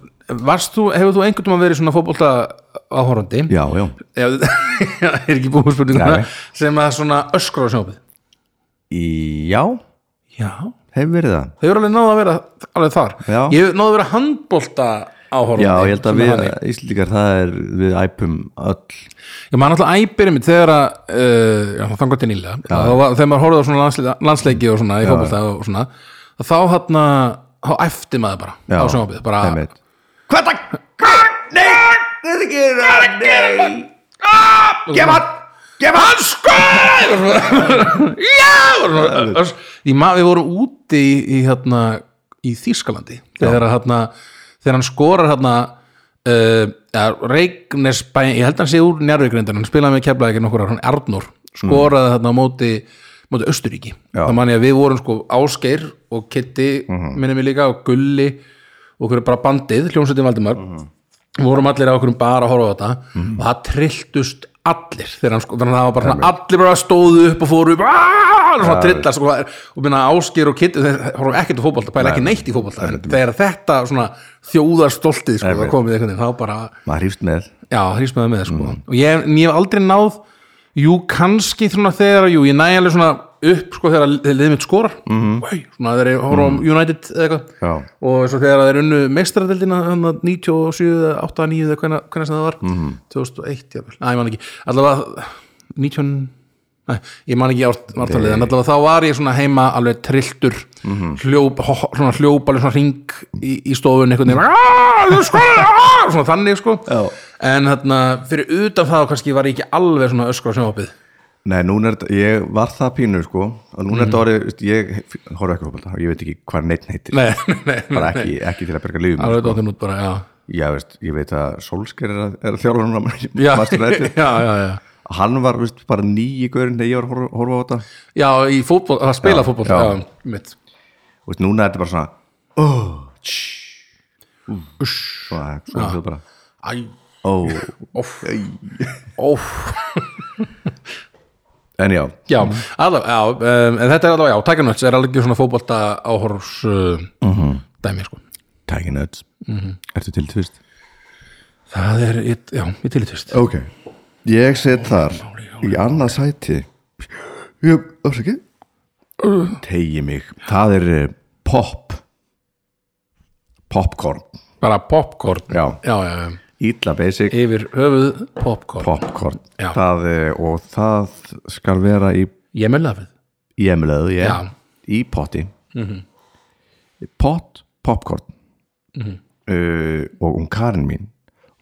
varst þú, hefur þú einhvern tímann verið svona fótbolta áhorandi? Já, já, Ef, já, er ekki búið Nei. spurninguna sem að svona öskra á sjófið Í- já, Já, hef verið það þau eru alveg náðu að vera alveg þar Já. Ég hef náðu að vera handbolta áhorandi Já, ég held að svona við þannig. Íslendingar, það er við æpum öll Já, maður náttúrulega æpir einmitt þegar að uh, já, þangar til nýlega þá, var- þegar maður horfði á svona landsleiki, landsleiki og svona í fótbolta og svona þá hann að, þá æfti maður bara já, á sjófið, bara einmitt. Hvað það? Nei, þetta er ekki það, nei Gef hann, gef hann skoð Öss- Ég maður við vorum úti í, í, hérna, í Þýskalandi þegar, að, hérna, þegar hann skorar hérna, uh, ja, Reyknesbæ ég held að hann sé úr njárvíkrindin hann spilaði með keflaði ekki nokkur ár, hann Arnór skoraði hérna á móti, móti Östuríki Já. þá man ég að við vorum sko Ásgeir og Kitty, mm minni mig líka og Gulli og okkur bara bandið hljómsveitin Valdimar vorum allir á okkur bara að horfa á þetta og það trilltust allir þegar hann sko, þannig að það var bara svona, allir bara stóðu upp og fóru upp, "Aah!" og svona trillast og, hvað er- og minna áskýr og kitt þeir horfum ekkert á fótbolta, bæla ekki neitt í fótbolta en þegar þetta svona þjóðarstoltið sko, það komið einhvern veginn, þá bara Maður hýfst með Já, hrísmaður með það sko og ég, en ég hef aldrei náð jú, kannski svona þegar, jú, ég næ alveg svona upp sko þegar þeir liðið mitt skorar mm. svona þegar ég horf á United eða Já. eitthvað og svo þegar þeir unnu meistaradeldina hann að 97, 8, 9 eða hvenær hvenær sem það var, Mhm. 2001 jafnvel. Æ, ég man ekki, allavega 19, næ, ég man ekki árt- ártalið, en allavega þá var ég svona heima alveg trilltur Mhm. hljóp, ho, ho- svona hljóp alveg svona ring í, í stofunni einhvern veginn "Ah, þú skoraðir, ah!" svona þannig sko Já. en þarna, fyrir utan það kannski var ég ekki alveg svona öskra á sjónvarpið Nei, núna er þetta, ég var það pínu sko og núna Mhm. er þetta orðið, veist, ég horfa ekki hópa ég veit ekki hvað neitt heitir Nei, nei, nei, bara ekki, ekki til að berga lífum alveg sko. dóttin út bara, já Já, veist, ég veit að Solskjær er, að- er að þjálfa núna Já, Manchester United. já, já, já hann var veist, bara nýi gaurinn þegar ég var að horfa- horfa á þetta Já, í fótbol, að spila fótbol já. já, mitt og veist, núna er þetta bara svona oh, tss, uh, svona, svona hljóð bara Æ, oh. óf, óf en já, Já, allavega, já, um, en þetta er allavega, já, tækjanöts er alveg svona fótbolta áhorfs uh, dæmi, sko Tiger Nuts Mhm. ertu til tvist? Það er, ég, já, ég tilítist Ok, ég set þar í annað sæti Jöp, afsaki Tegi mig Það er eh, pop Popcorn Bara popcorn Já, já, já, já. ítla basic yfir höfuð popcorn Popcorn Já. það, eh, Og það skal vera í Ég með lafið í emulöðu ég, Já. Mhm. Í potti Pott, popcorn Mhm. uh, Og hún Karin mín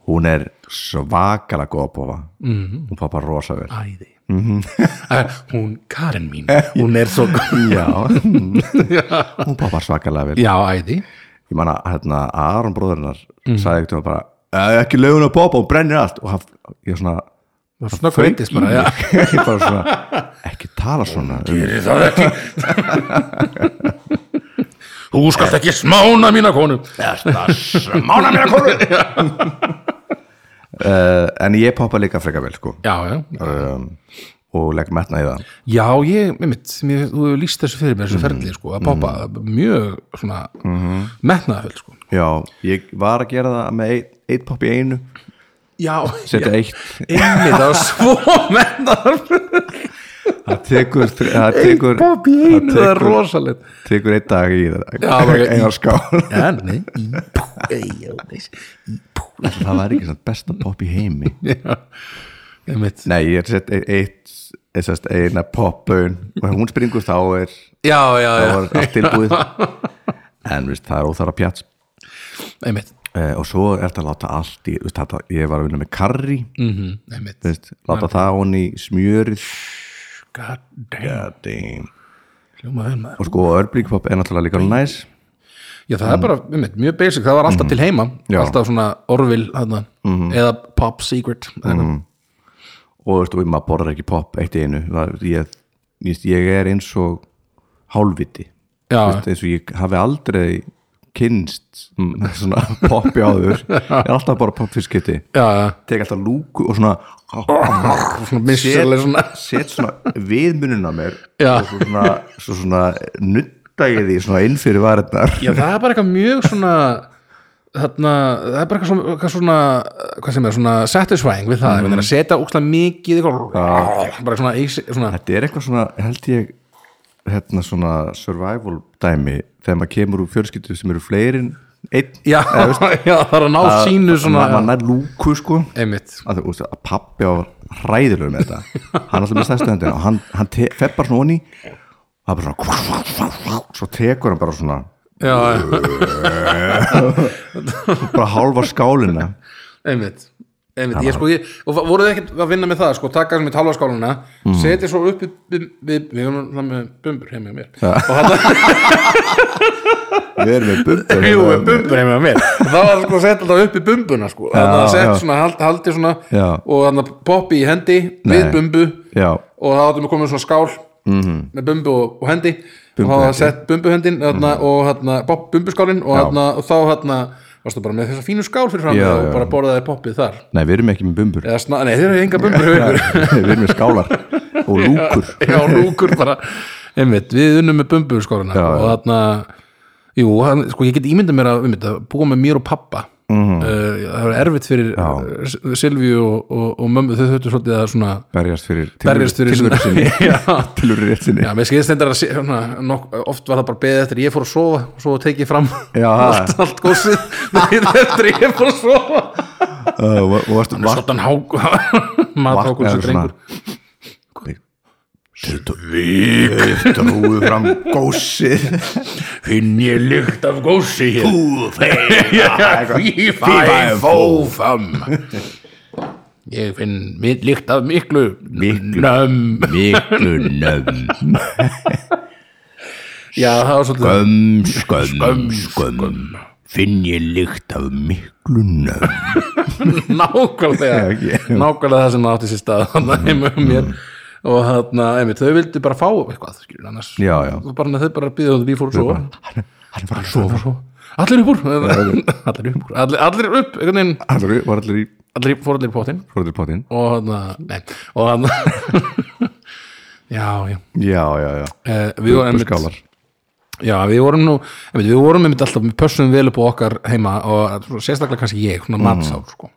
Hún er svakala góð að bófa Mhm. Hún poppar rosa vel Æði Eh, Hún, Karin mín, hún er svo Já, hún poppar svakalega vel Já, æði Ég man að hérna, Aron bróðurinnar Mhm. sagði ekkert um bara "Eh, ekki lögun að poppa, hún brennir allt og hann, ég svona Snöggur reyndist bara, já ég bara svona, ekki tala svona um, Það er ekki Þú skalt ekki smána mína konu mána mér að konu uh, En ég poppa líka frekar vel sko Já, já um, og legg metna í það Já, ég, einmitt, mér, þú hefur líst þessu fyrir mér þessu ferli, sko, að poppa mjög svona metnaðarföld, sko Já, ég var að gera það með eitt, eitt popp í einu Já, setja eitt, einmitt, það var svo metnaðarföld það tekur það tekur, Bob í einu, það er tekur- rosalegt tekur eitt dag í það Já, bara í- einar skál Já, nei, í pú, ei, ó, nei, í pú það væri ekki svona besta pop í heimi Einmitt nei, ég er sett eitt, eitt, eitt, eitt eina popbön og ef hún springur þá er Já, já, þá já, er allt tilbúið en veist, það er óþara pjats einmitt eh, og svo er þetta að láta allt í, veist, þetta, ég var að vinna með karri Mhm, Einmitt veist, láta það hon í smjörið God damn, God damn. hljóma vel maður og sko örbríkpopp er náttúrulega líka næs Já, það er bara, einmitt, mjög basic, það var alltaf til heima Já. Alltaf svona Orville, þarna Eða Pop Secret mm um og veist, og maður borðar ekki popp eitt í einu Það- ég ég, veist, ég er eins og hálfviti Já. Þú veist, eins og ég hafi aldrei kynst mm, svona poppi áður ég er alltaf bara popfiskiti já, já, tek alltaf lúku og svona svona missurlega svona set svona viðmunina mér Já. og svo svona, svo svona nutta ég því svona inn fyrir varirnar Já, það er bara eitthvað mjög svona þarna, það er bara eitthvað svona, eitthvað svona hvað sem er, svona satisfying við það mm. að setja ókslega mikið eitthvað, bara svona, í- svona Þetta er eitthvað svona, held ég hérna svona survival dæmi þegar maður kemur úr fjölskyldu sem eru fleirin einn já, já, það er að ná sínu svona maður nær lúku sko einmitt, að, þú veist, að pappi á hræðilegu með þetta hann alltaf með stærstu hendina og hann, hann te- fer bara svona onni það er bara svona svo tekur hann bara svona já, já, bara hálfa skálina einmitt einmitt, ég sko, ég, og voruð þið ekkert að vinna með það sko, taka sem í talvaskáluna mm. setja svo upp við, við, við, við erum það með bumbur heim með mér og hann við erum með bumbur hérna. Jú, með bumbur heima hjá mér Það var sko að setja alltaf upp í bumbuna sko Þannig að Já, setja já. svona, hald, haldi svona Já. Og þannig að poppi í hendi Við Nei. bumbu já, Og það áttum við komið svona skál -hmm. Með bumbu og, og hendi Og það var sett bumbuhendin þarna, Og þarna, popp bumbuskálin og, þarna, og þá þarna Varstu bara með þessa fínu skál fyrir fram Já, Og já. bara borðaði poppið þar nei við erum ekki með bumbur Eða, sna, Nei, þeir eru enga bumbur hjá ykkur við erum með skálar og lúkur Já, lúkur bara einmitt, Við unnum með bumburskórana Já, og já. þarna Jú, hann, sko, ég get ímyndað mér að einmitt, að búa með mér og pappa Mhm. mm. Það var erfitt fyrir eh, já. Silvíu og, og, og mömmu þau þurftu svolítið að svona berjast fyrir berjast fyrir tilveru sinni Já, tilveru réttinni Já, mér skilðist þetta að sé- svona, nokk, oft var það bara beðið eftir ég fór að sofa og svo tekið ég fram Já. allt, allt góðsið eftir ég fór að sofa Uh, og og varstu vakna Svolítan hák matákur sem drengur Þetta vik Trúðu fram gósið Finn ég lykt af gósi hér Úf, hey, Fí, fæ, fó, fam Ég finn mitt líkt af miklu Miklu. Nömm Miklu nömm Já, það var svolítið Skömm, skömm, skömm Finn ég lykt af miklu nömm nákvæmlega Já, Mm, ok. Nákvæmlega það sem átti sér stað Þannig að heima um mér Og þarna, einmitt, þau vildu bara fá eitthvað skilur, annars, Já, já. Þú bara, þau bara býðu og við fórum svo Hann var að sofa Allir upp úr Allir upp úr, allir, allir upp einhvern veginn, Allir var allir í Allir í- fóru allir í potinn Fóruður potinn Og þarna, nei Og þarna Já, já Já, já, já Eh, Við vorum einmitt- Skálar Já, við vorum nú, einmitt, við vorum einmitt alltaf, við pössum vel upp á okkar heima og svona sérstaklega kannski ég, svona Mm. matsár sko.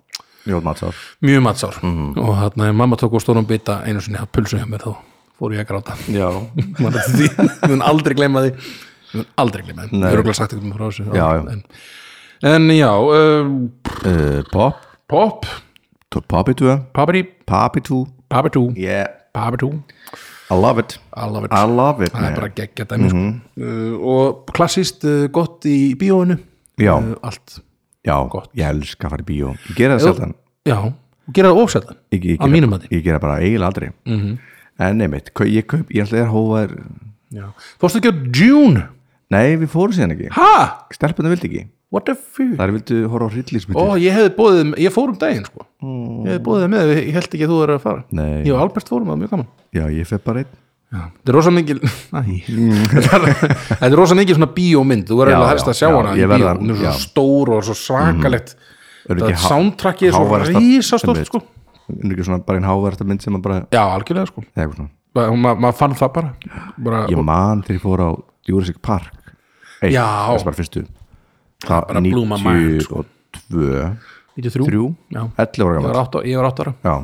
Jón Matsar mjög matsár Mm. og þannig að mamma tók og stórum bita einu sinni að pulsu hjá mér þá fór ég að gráta Já Maður eftir því, við mun aldrei gleyma því við mun aldrei gleyma því, við erum sagt eitthvað frá þessu Já, já. En, en já, um, uh, Pop pop To- Papi 2 papri, Papi 2 papri tú Yeah papri tú, I love it I love it I love it það er man. bara geggja dæmi sko. Mhm. uh, og klassist uh, gott í bíóinu Já. uh, allt Já, ég elska að fara í bíó Ég gera það sjaldan Já, og gera það ofsætlan ég, ég, Að gera- mínum mati. Mhm. ég gera bara eiginlega aldrei -hmm. en neymitt, ég kaup ég ætla að hófaður Fórstu ekki á Dune? nei við fórum síðan ekki Ha? stelpunum vildi ekki, What the fuck? þar vildu horfa á hryllismyndir Ó, ég hefði bóðið, ég fór um daginn sko Ég hefði bóðið með, ég held ekki að þú er að fara Nei. Ég og Albert fórum, það var mjög gaman já ég fef bara einn Já. Þetta er rosa mikil Æ. Þetta er rosa mikil svona bíómynd Þú verður Já, eiginlega helst já, að sjá já, hana í ég verð bíó að- Hún er svo já. stór og svo svakalegt Er Það ekki er há- soundtrackið er svo háværasta- risastórt einmitt. sko en ekki svona bara einn háverasta mynd sem að bara Já, algjörlega sko eða eitthvað svona, Bara- hún- ma- Maður fann það bara, bara ég man þegar ég fór á Jurassic Park eitt, Já. þess bara fyrstu það bara blew my 92 mind, sko. 93 3, Já. 11 ára Ég var gammal átta- Ég var átt ára, já,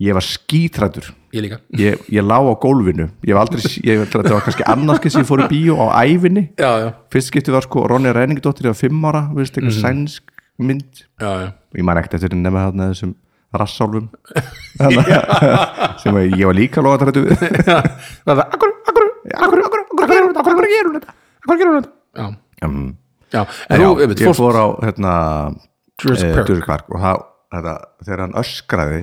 ég var skítrættur ég líka ég, ég lá á gólfinu ég var aldrei, ég held að þetta var kannski annarskið sem ég fór í bíó á ævinni Já, já, fyrst skipti var sko Ronja Reiningdóttir á fimm ára, viðst eitthvað Mhm. sænsk mynd já, já. ég man ekkert eftir nefna þarna þessum rassálfum sem að ég var líka loga þetta Það er það, akkur, akkur, akkur, akkur, akkur, akkur, akkur, akkur, akkur, gerum þetta, akkur, gerum þetta. Já, um, já, en já, þú, einmitt, ég fórst fór á hérna, eh, Jurassic Park. Jurassic Park og það, þetta, þegar hann öskraði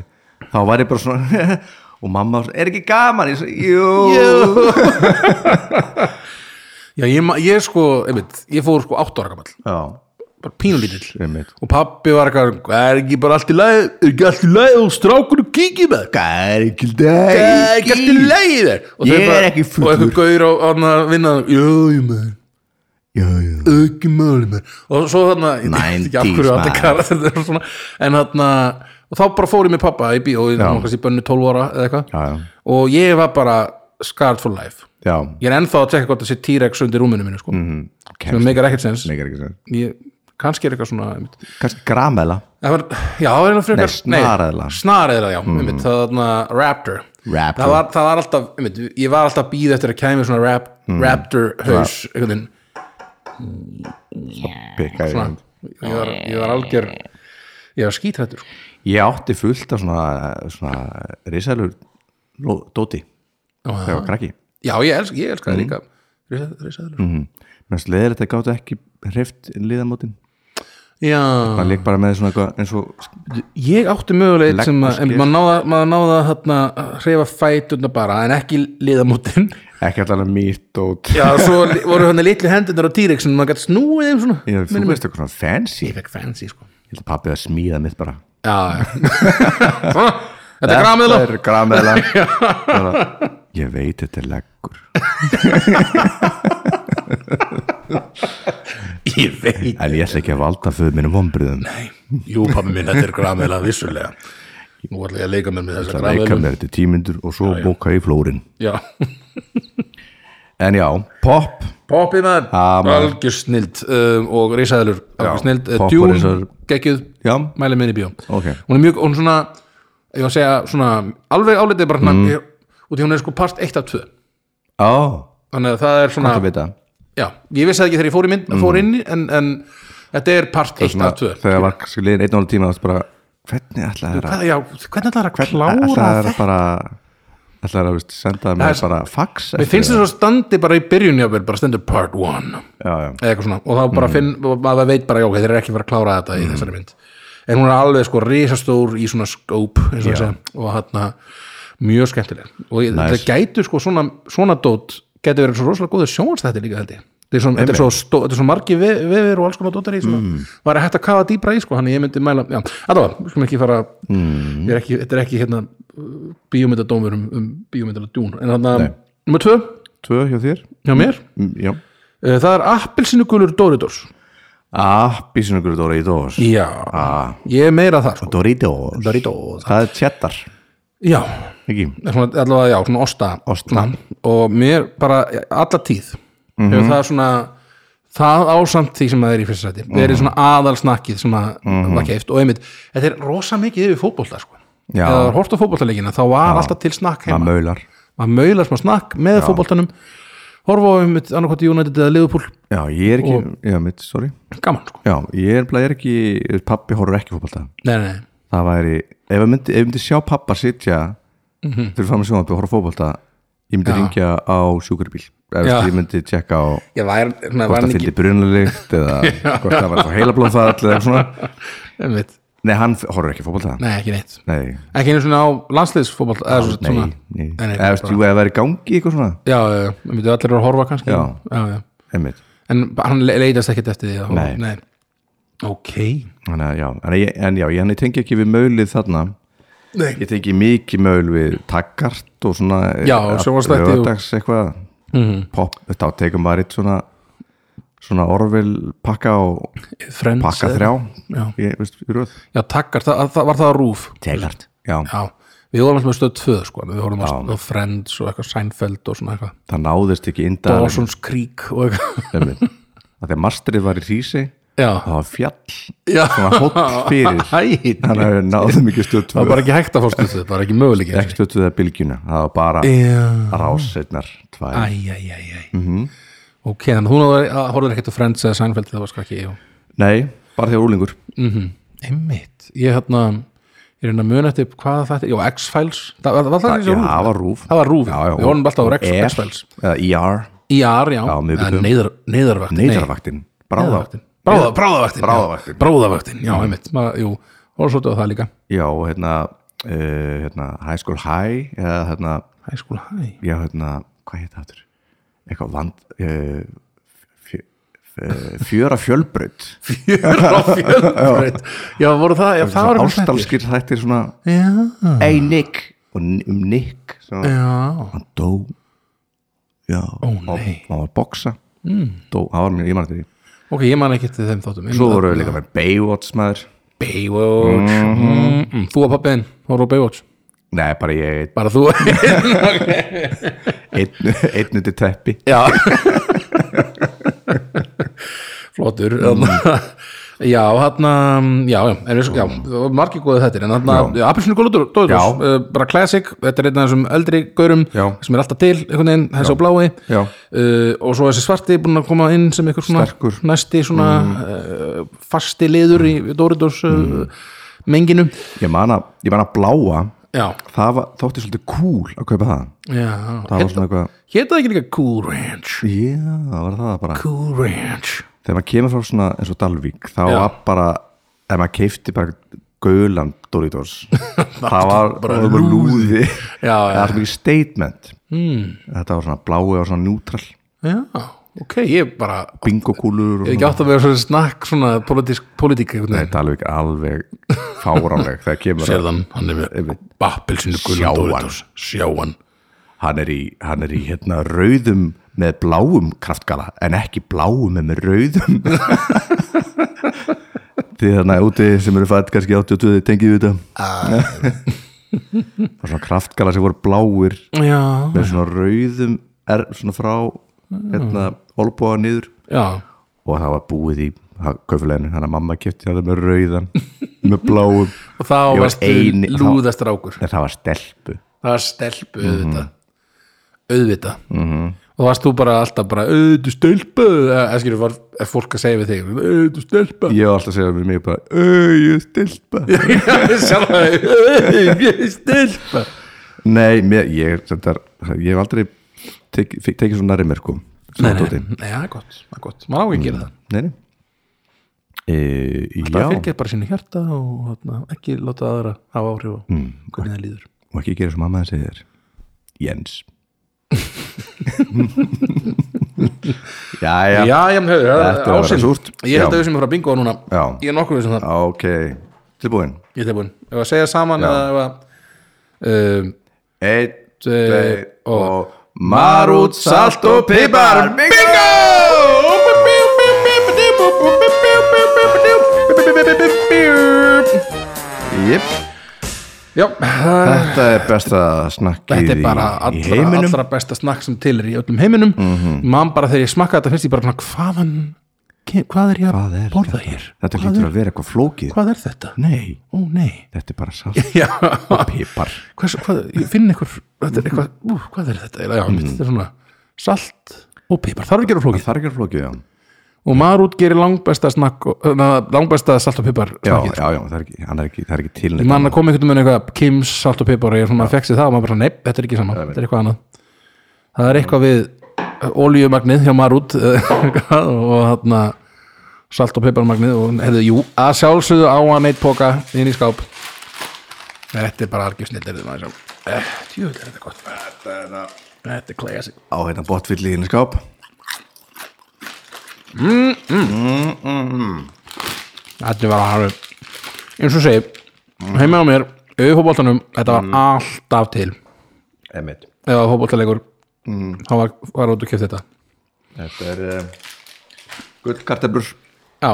þá var ég bara svona og mamma var svona, er ekki gaman? Ég, svo, jú, Já, ég, ma- ég sko, einmitt, ég fór sko átt ára gamall Já, bara pínulítill Einmitt. og pappi var eitthvað það er ekki bara allt í lagi er ekki allt í lagi og strákur og kíkir með Það er ekki það er ekki allt í lagi þér og Eh, Ég þeir bara- er ekki fullur. og eitthvað gaur á hann að vinna jújú maður leið auki máli mér og svo þarna, ég veit ekki af 90s hverju alltaf maður. karakter eru svona, en þarna og þá bara fór ég með pappa í bíó í kannski bönnu 12 ára eða Já, já. eitthvað og ég var bara scarred for life Já, ég er ennþá að tekka hvort það sé T-Rex undir rúminu mínu sko, Mhm. mm, sem kemst- meikar ekkert sens meikar ekki sens. ég, kannski er eitthvað svona einmitt. Kannski gramela Það var, já, það var einhvern frekar Nei, snareðla. Snareðla, já, einmitt, það var þarna Mm. Raptor Raptor. Það var, það var alltaf, einmitt, ég var alltaf býð eftir að kæmi svona rap, Raptor haus einhvern veginn Pikka í hönd. ég var, ég var algjör ég var skítrættur sko. Ég átti fullt af svona, svona risalur ló- dóti þegar ég var krakki já ég, elsk, ég elska það líka Risa- risaðlur. Mér sleðir þetta gáttu ekki hreift liðamótin já, Það leik bara með svona eitthvað eins og ég átti mögulega eitt sem að einmitt, Leggur sker. maður náða, maður náða þarna, að hreifa fætuna bara en ekki liðamótin ekki allan mýrt dót já, svo li- voru hann litli hendunar á T-Rex en maður gætt snúið þeim svona Ég, þú veist eitthvað svona fancy ég fekk fancy sko Ég held að pappi að smíða mitt bara já, já. Svona, þetta er gramiðla Þetta er grameðla Bara, Ég veit þetta er leggur ég veit, En ég ætla ekki að valda föðu mínum vombriðum jú pabbi minn, þetta er gramiðla vissulega, nú ætla ég að leika mér með þessa Það leika gramiðla mér þetta í tímyndur og svo bóka í flórin já En já, pop Poppi maður, Ah, maður. algjör snild um, og risaðilur, algjör Já, snild uh, popp og Dune, risaeðlur. geggjuð, Já. mæli minni bíó Ok. hún er mjög, hún svona ég var að segja, svona, alveg álitið bara mm. ég, út í hún er sko part 1 af 2 Ó, þannig að það er svona þetta veit það já, ég vissi það ekki þegar ég fór, í mynd, fór inn í, en, en Mhm. þetta er part 1 svona, af 2 þegar var kannski liðin einn og hálf tíma þá varstu bara, hvernig ætla þær að já, hvernig ætlar að ætla klára þær þetta að bara ætla þær að veist, senda er- mér bara fax mér finnst þess að standi bara í byrjun jáfnvel, bara stendur part 1 já, já. eða eitthvað svona og þá bara finn, maður veit bara já, ok, þeir eru ekki að fara að klára þetta í þessari mynd en hún er alveg sko risastór í svona skóp eins og að segja og hann mjög skemmtileg og ég, Nice. það gætu sko svona, svona dót gæti verið svo rosalega góður sjónvarsþætti líka held ég þetta er svo, þetta er svo, stó, þetta er svo margi ve- vefir og alls konar dótar í sem mm. var hægt að kafa dýbra í sko, hann ég myndi mæla já, allavega, við skulum ekki fara mm. er ekki, þetta er ekki hérna bíómyndadómur um, um bíómyndala dún en hann að, nummer tvö, tvö hjá þér hjá mér Mm, já. eh, það er appelsinugulur Doritos Ah, appísinugur Doritos Já, ég er meira þar sko. Doritos, Doritos. það er cheddar Já, ekki, er svona, allavega já, svona osta, Osta. Svona, og mér bara, alla tíð mm hefur það svona það ásamt því sem það er í fyrsta sæti verið svona aðalsnakkið sem að var keift og einmitt, þetta er rosa mikið yfir fótbolta sko Já. eða það var hort á fótboltaleikina þá var alltaf til snakk heima það maular maður maula smá snakk með fótboltanum horfa á einmitt annarkvæmt í United eða Liverpool já, ég er ekki, já, mitt, sorry gaman sko, já, ég er, ég er ekki, pappi horfur ekki fótbolta nei nei, nei. það væri, ef ég myndi, ef ég myndi sjá pappa sitja mm Mhm. -hmm. fyrir fram að sjónvarpi og horfa á fótbolta ég myndi ringja á sjúkrabíl Já. eða ég myndi tjekka á ég væri, svona, hvort væri það ekki fylgdi brunalegt eða hvort það var heila blóðfall eða eitthvað svona einmitt, nei, hann f- horfir ekki á fótbolta nei ekki neitt nei, ekki einu svona á landsliðsfótball eða svo- nei, svona nei. Nei, nei, eða veist, jú, eða það er í gangi eitthvað svona já, já, já, eh, við myndum allir eru að horfa kannski Já. Já, já. einmitt, en bara hann le- leitast ekkert eftir því að horfa. Nei. ok þannig að já en, ég, en já, ég, en ég tengi ekki við maulið þarna Nei. ég tengi mikið maul við takkart og svona Já, að- sjónvarpsþætti og- laugardags eitthvað pop, þá tegum maður eitt svona svona orvil pakka og Friends, pakka eða- þrjá Já. ég, veist, í röð já, takkar, það, það- það var það rúf tegart já, já, við horfum alltaf með stöð tvö sko, en við horfum alltaf með Friends og eitthvað Seinfeld og svona eitthvað, það náðist ekki inda Dawson's Creek og eitthvað, þegar masterið var í hrísi já, það var fjall já það var hótt fyrir Æ, þannig að við náðum ekki það var stöðtöð bara ekki hægt að fá stöð tvö, það var ekki möguleik ekki stöðtöð að bylgjuna það var bara já, rásetnar tvær æ, æ, æ, æ Mhm. ok, þannig að þú náður- horfðir ekkert á Friends eða Seinfeld, það var skakki, já nei, bara þegar úlingur Einmitt, ég hérna ég er hérna að muna eftir hvað þetta já, X-Files, það, það var það ekki já, svo rúf það var rúf það var rúf, Já, já, við vorum alltaf á X- F, X-Files eða E ER, IR, E já, Já, miðvikudagur. eða neyðar, neyðarvaktin neyðarvaktin bráðavaktin bráða, bráðavaktin, Bráðavaktin. Já, bráðavaktin, já, einmitt maður, jú, og svo þetta það líka já, og hérna, uh, hérna High School High eða hérna High School High, já, hérna, hvað heit það aftur eitthvað vand uh, eh, fjöra fjölbraut fjöra fjölbraut já, voru það, já, það var einhver þættir. ástalskir þættir svona já, Ey Nick og n- um Nick sem var, já, hann dó já, Ó, nei. Hmm. hann var að boksa mm. dó, hann var mér, ég maður þetta ok, ég man ekki til þeim þáttum svo voru við líka með Baywatch maður Baywatch mm þú og pappiðin, voru á Baywatch nei, bara ég bara þú einn einn undir teppi já flottur þarna. já, hann já, já, en við, já, það voru margir góðið þetta en hann, Apisinu Gólutur, Já. Dóður eh, bara classic, þetta er einn af þessum eldri gaurum Já. sem er alltaf til, einhvern veginn, þessi á blái Já. Uh, og svo þessi svarti búin að koma inn sem einhver svona Sterkur. næsti svona uh, fasti liður í Dóriðurs uh, menginu ég man að, ég man að bláa já, það var, þótti svolítið cool að kaupa það já það var svona eitthvað, hétta það ekki líka Cool Ranch já, það var það bara Cool Ranch þegar maður kemur frá svona eins og Dalvík þá Já. var bara, ef maður keifti bara gaulan Doritos það var bara lúði Já, það já. Hmm. var svo mikið statement mm. þetta var svona blái og svona neutral Já, ok, ég bara bingo kúlur og ég hef ekki átt að vera svona snakk svona politísk, politík einhvern veginn þetta er alveg alveg fáránleg þegar kemur að Sérðan, hann er með bappelsinu Sjá hann. gulan Doritos Sjáan hann er í, hann er í hérna rauðum með bláum kraftgala en ekki bláum en með rauðum því þannig að úti sem eru fætt kannski 82 tengið við þetta og svona kraftgala sem voru bláir Já, með svona rauðum er svona frá hérna olbúa niður já, og það var búið í kaufuleginu þannig að mamma kefti það með rauðan með bláum og þá Ég var varstu eini- þá- lúðastur ákur en það var stelpu Það var stelpu Mhm. auðvitað auðvitað og varst þú bara alltaf bara auðvitað stelpu eða skilur var er fólk að segja við þig auðvitað stelpu ég var alltaf að segja við mig bara auðu stelpa auðvitað stelpu Nei, mér, ég, sendar, ég hef aldrei tekið tek, tekið svona nærri mér sko Nei, nei, nei, það er gott, það er gott maður á ekki að gera það nei, nei. E, bara Já, fylgja bara sínu hjarta og hátna, ekki láta aðra hafa áhrif á Mm. hvernig það líður og ekki gera svo mamma þessi þér Jens Já, já, Já, já, men höfðu, Þetta var að vera ásinn súrt. Ég held Já. að við sem er frá bingo núna Já. Ég er nokkur við sem það, ok Tilbúin ég er tilbúin Ef að segja saman Já. eða ef að um, Einn, tveir tveir og- og Marút, salt og pipar Bingo! Jep Já, það er- Þetta er besta snakkið þetta er bara í, í allra, heiminum Mhm. allra besta snakk sem til er í öllum heiminum Man bara þegar ég smakka þetta finnst ég bara svona, hvaðan ke- Hvað er ég Hvað að er borða hér? Þetta Hvað lítur er, að vera eitthvað flókið hvað er þetta? Nei, Ó, nei þetta er bara salt Já, og pipar Hvers, hvað, ég finn einhver þetta er eitthvað, ú, hvað er þetta? Já, mm. þetta er svona salt og pipar, þarf að gera flókið Það er ekki að flókið, já og Marút gerir langbesta, snakk, og- eh, na, langbesta salt og pipar Já, snakkið. já, já, það er ekki, hann er ekki, það er ekki til ég man að koma einhvern veginn eitthvað Kims salt og pipar og ég svona fekk sér það og maður bara nepp, þetta er ekki saman, þetta er eitthvað annað það er eitthvað við oljumagnið hjá Marút eh, og þarna salt og piparmagnið og hefðu, jú, að sjálfsögðu á hann eitt póka inn í skáp þetta er bara algjörsnill er þetta maður er þetta gott Þetta er classic hérna Á hérna botfylli í skáp Þetta var alveg eins og segi, heima á mér auðvitað fótboltanum, þetta var alltaf til Emmitt ef það var fótboltalegur þá var, var út og kjöft þetta Þetta er um, gullkarteblur Já,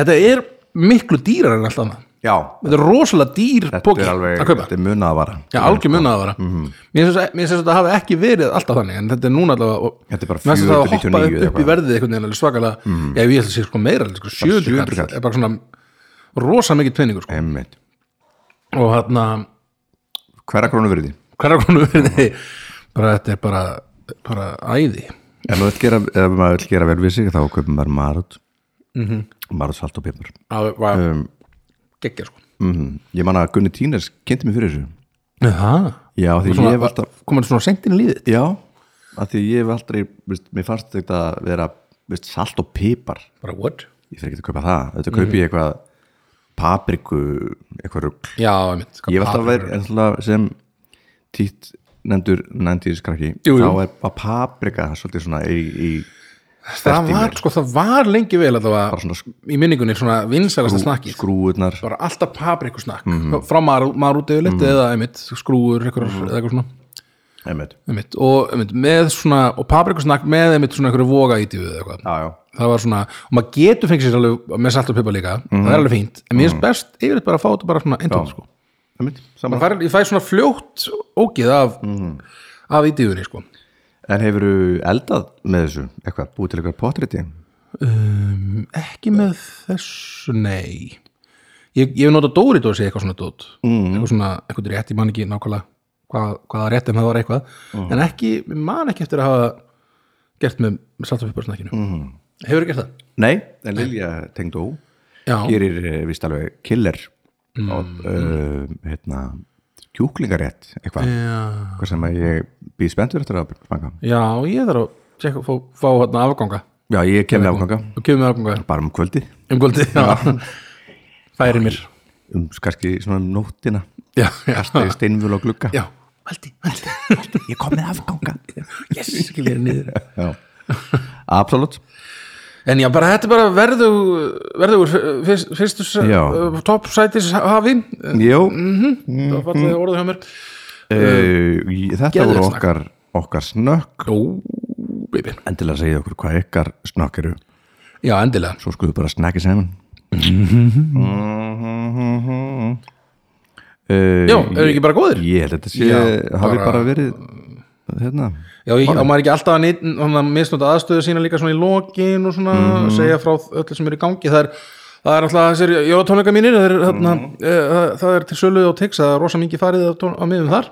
þetta er miklu dýrar en allt annað Já, Þetta er rosalega dýr þetta póki er alveg, sko. Mm. að kaupa þetta er munað að vara Já, algjör munað að vera Mér finnst þess- mér finnst að þetta hafi ekki verið alltaf þannig en þetta er núna allavega og- Þetta er bara mér finnst að það hafa hoppað upp, 499 eða upp í eitthvað. verðið einhvern veginn alveg svakalega Já, ég ætla að sé sko meira, alveg sko 700 700 kall kall. er bara svona rosa mikið peningur sko. Emmitt og hérna Hverra krónu verið því? hverja konu verði bara þetta er bara, bara æði Ef maður vill gera, ef maður vill gera vel við sig þá kaupum maður marut Mhm. marut salt og pipar að var um, geggja sko mm. Ég man að Gunni Tínes kynnti mig fyrir þessu það Já, því ég hef alltaf komur svona seint inn í líðið Já, af því ég hef aldrei veist, mér fannst þetta að vera veist, salt og pipar, bara what? ég fyrir ekki að kaupa það þetta kaupi ég eitthvað papriku, eitthvað rugl já, einmitt sko. ég hef alltaf verið ennþá sem títt nendur næntíðskrakki Jú, jú. þá er að paprika svolítið svona í, í það var, sko, það var lengi vel að það Bara var svona skrú- í minningunni svona vinsalasta snakkið skrúurnar bara alltaf paprikusnakk frá mar, marútið mm -hmm. eða einmitt skrúur einhver, eða eitthvað svona einmitt. einmitt, og, einmitt, með svona, og paprikusnakk með einmitt svona einhverju voga í tíu eða eitthvað já, já, það var svona, og maður getur fengið sér alveg með salt og pipa líka, það er alveg fínt en mér finnst best yfirleitt bara að fá þetta bara svona eintótt sko. einmitt Maður saman. fær- ég fæ svona fljótt ógið af, af ítíðunni sko. en hefurðu eldað með þessu eitthvað, búið til eitthvað potrétti ekki með þessu, nei ég, ég hef notað Doritos í eitthvað svona dót Mm. eitthvað svona, eitthvað rétt, ég man ekki nákvæmlega hvað, hvaða rétt en það var eitthvað Mm. en ekki, ég man ekki eftir að hafa gert með, með salt og pipa snakkinu Mm-hmm. hefur gert það? nei, en Lilja tengdó Já, gerir eh, víst alveg killer mm. og uh, hérna kjúklingarétt eitthvað Já. eitthvað sem að ég býð spenntur eftir að fanga Já, ég þarf að tjekka, fá, fá hérna afganga já, ég kem með áfanga og kemur með afganga bara um kvöldið, um kvöldi já. færi mér um kannski svona um nóttina já, já, þegar steinvölu á glugga já. Valdi, valdi, valdi ég kom með afganga yes, skilur niður já, absolutt en já, bara þetta er bara verðu verður fyrst, fyrstu Já. Mhm. uh, toppsætis hafi mm. Jó, það var fallið orðið hjá mér uh, þetta geðveikt voru snakk. okkar, okkar snökk ó, baby endilega segja okkur hvað ykkar snökk eru já, endilega svo skoðu bara snakki saman Mm-hmm. uh, já, eru ekki bara góðir? ég held að þetta sé Já, hafi bara- bara verið hérna Já, ég, og maður er ekki alltaf að nýtt- hann að misnota aðstöðu sína líka svona í lokin og svona Mhm. segja frá öllu sem er í gangi það er, það er alltaf þessir jólatónleika mínir það er, þarna, Mhm. e, það, það er til sölu og tix það er rosa mikið farið á, tón, á miðum þar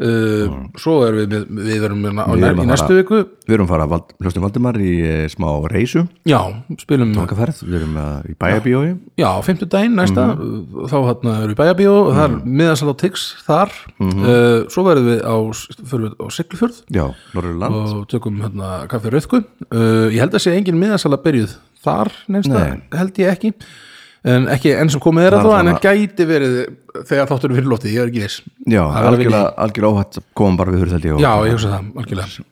uh, svo erum við með- við verum með- á Mhm. Við erum að nær, í fara- næstu viku við erum að fara að vald, hlustum Valdimar í eh, smá reysu já, spilum tónkaferð, við erum að, í bæjabíói já, fimmtudaginn næsta Mhm. þá þarna erum við í bæjabíó og það er miðansal á tix þar Mhm. uh, svo verðum við á, förum við á Siglufjörð já, Norrland og tökum hérna kaffi rauðku uh, ég held að sé engin miðasala byrjuð þar nefnst Nei. það held ég ekki en ekki enn sem komið er að Það það er en það svona- gæti verið þegar þáttur er fyrir loftið, ég er ekki viss já, Það er alveg algjörlega, algjörlega óhætt komum bara við hurðaldi já, og ég hugsa það, algjörlega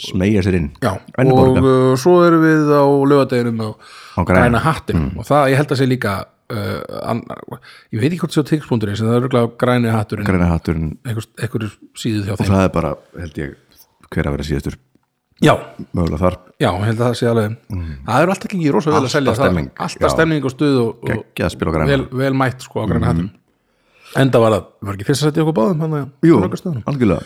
smegja sér inn já, og Venniborga. uh, svo erum við á lögadeginum á, Á græna. Mm. græna hattin og það, ég held að sé líka uh, annar, ég veit ekki hvort sé á tix.is en það er örugglega á græni hatturinn græna hatturinn einhver, einhver síðu hjá og þeim það er bara, held ég, hver að vera síðastur já, mögulega þar, Já, ég held að það sé alveg Það eru alltaf ekki rosa vel að Mm. Alltaf selja það. stemming, Alltaf já. stemning og stuð og, og Geggjað spil á græna. vel, vel mætt sko á græna mm Enda var það, var ekki fyrst að setja okkur báðum hann að jú, okkar stöðunum. algjörlega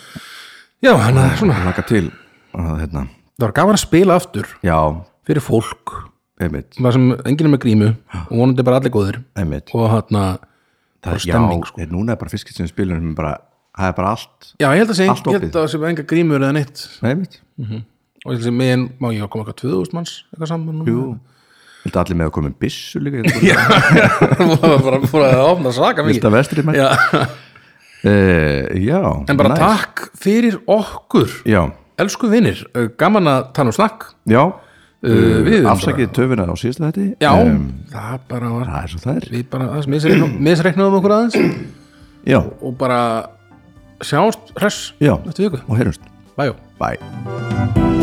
Já, hann að svona laka til að, hérna, Það var gaman að spila aftur já, fyrir fólk einmitt, það sem enginn er með grímu og vonandi bara allir góðir einmitt og hann það að bara er stemning, já, sko. núna er bara fiskitt sem spilunum bara, það er bara allt Já, ég held að sé, Allt ég held opið. að það sé enga grímur eða neitt einmitt, og ég held að sé megin, má ég koma eitthvað 2000 manns eitthvað saman núna? jú Þetta allir með að koma með byssu líka Þetta Já, það var bara fór að opna svaka mikið vestri með Já, uh, Já en bara næs. takk fyrir okkur Já, Elsku vinnir, gaman að tala um snakk já uh, við erum Afsakið töfuna á um. síðasta þetta bara, Já, það bara var Það er svo það er Við bara aðeins misreiknum, misreiknum okkur aðeins Já, Og bara sjást hress já Næstu viku, Og heyrjumst bæjó Bye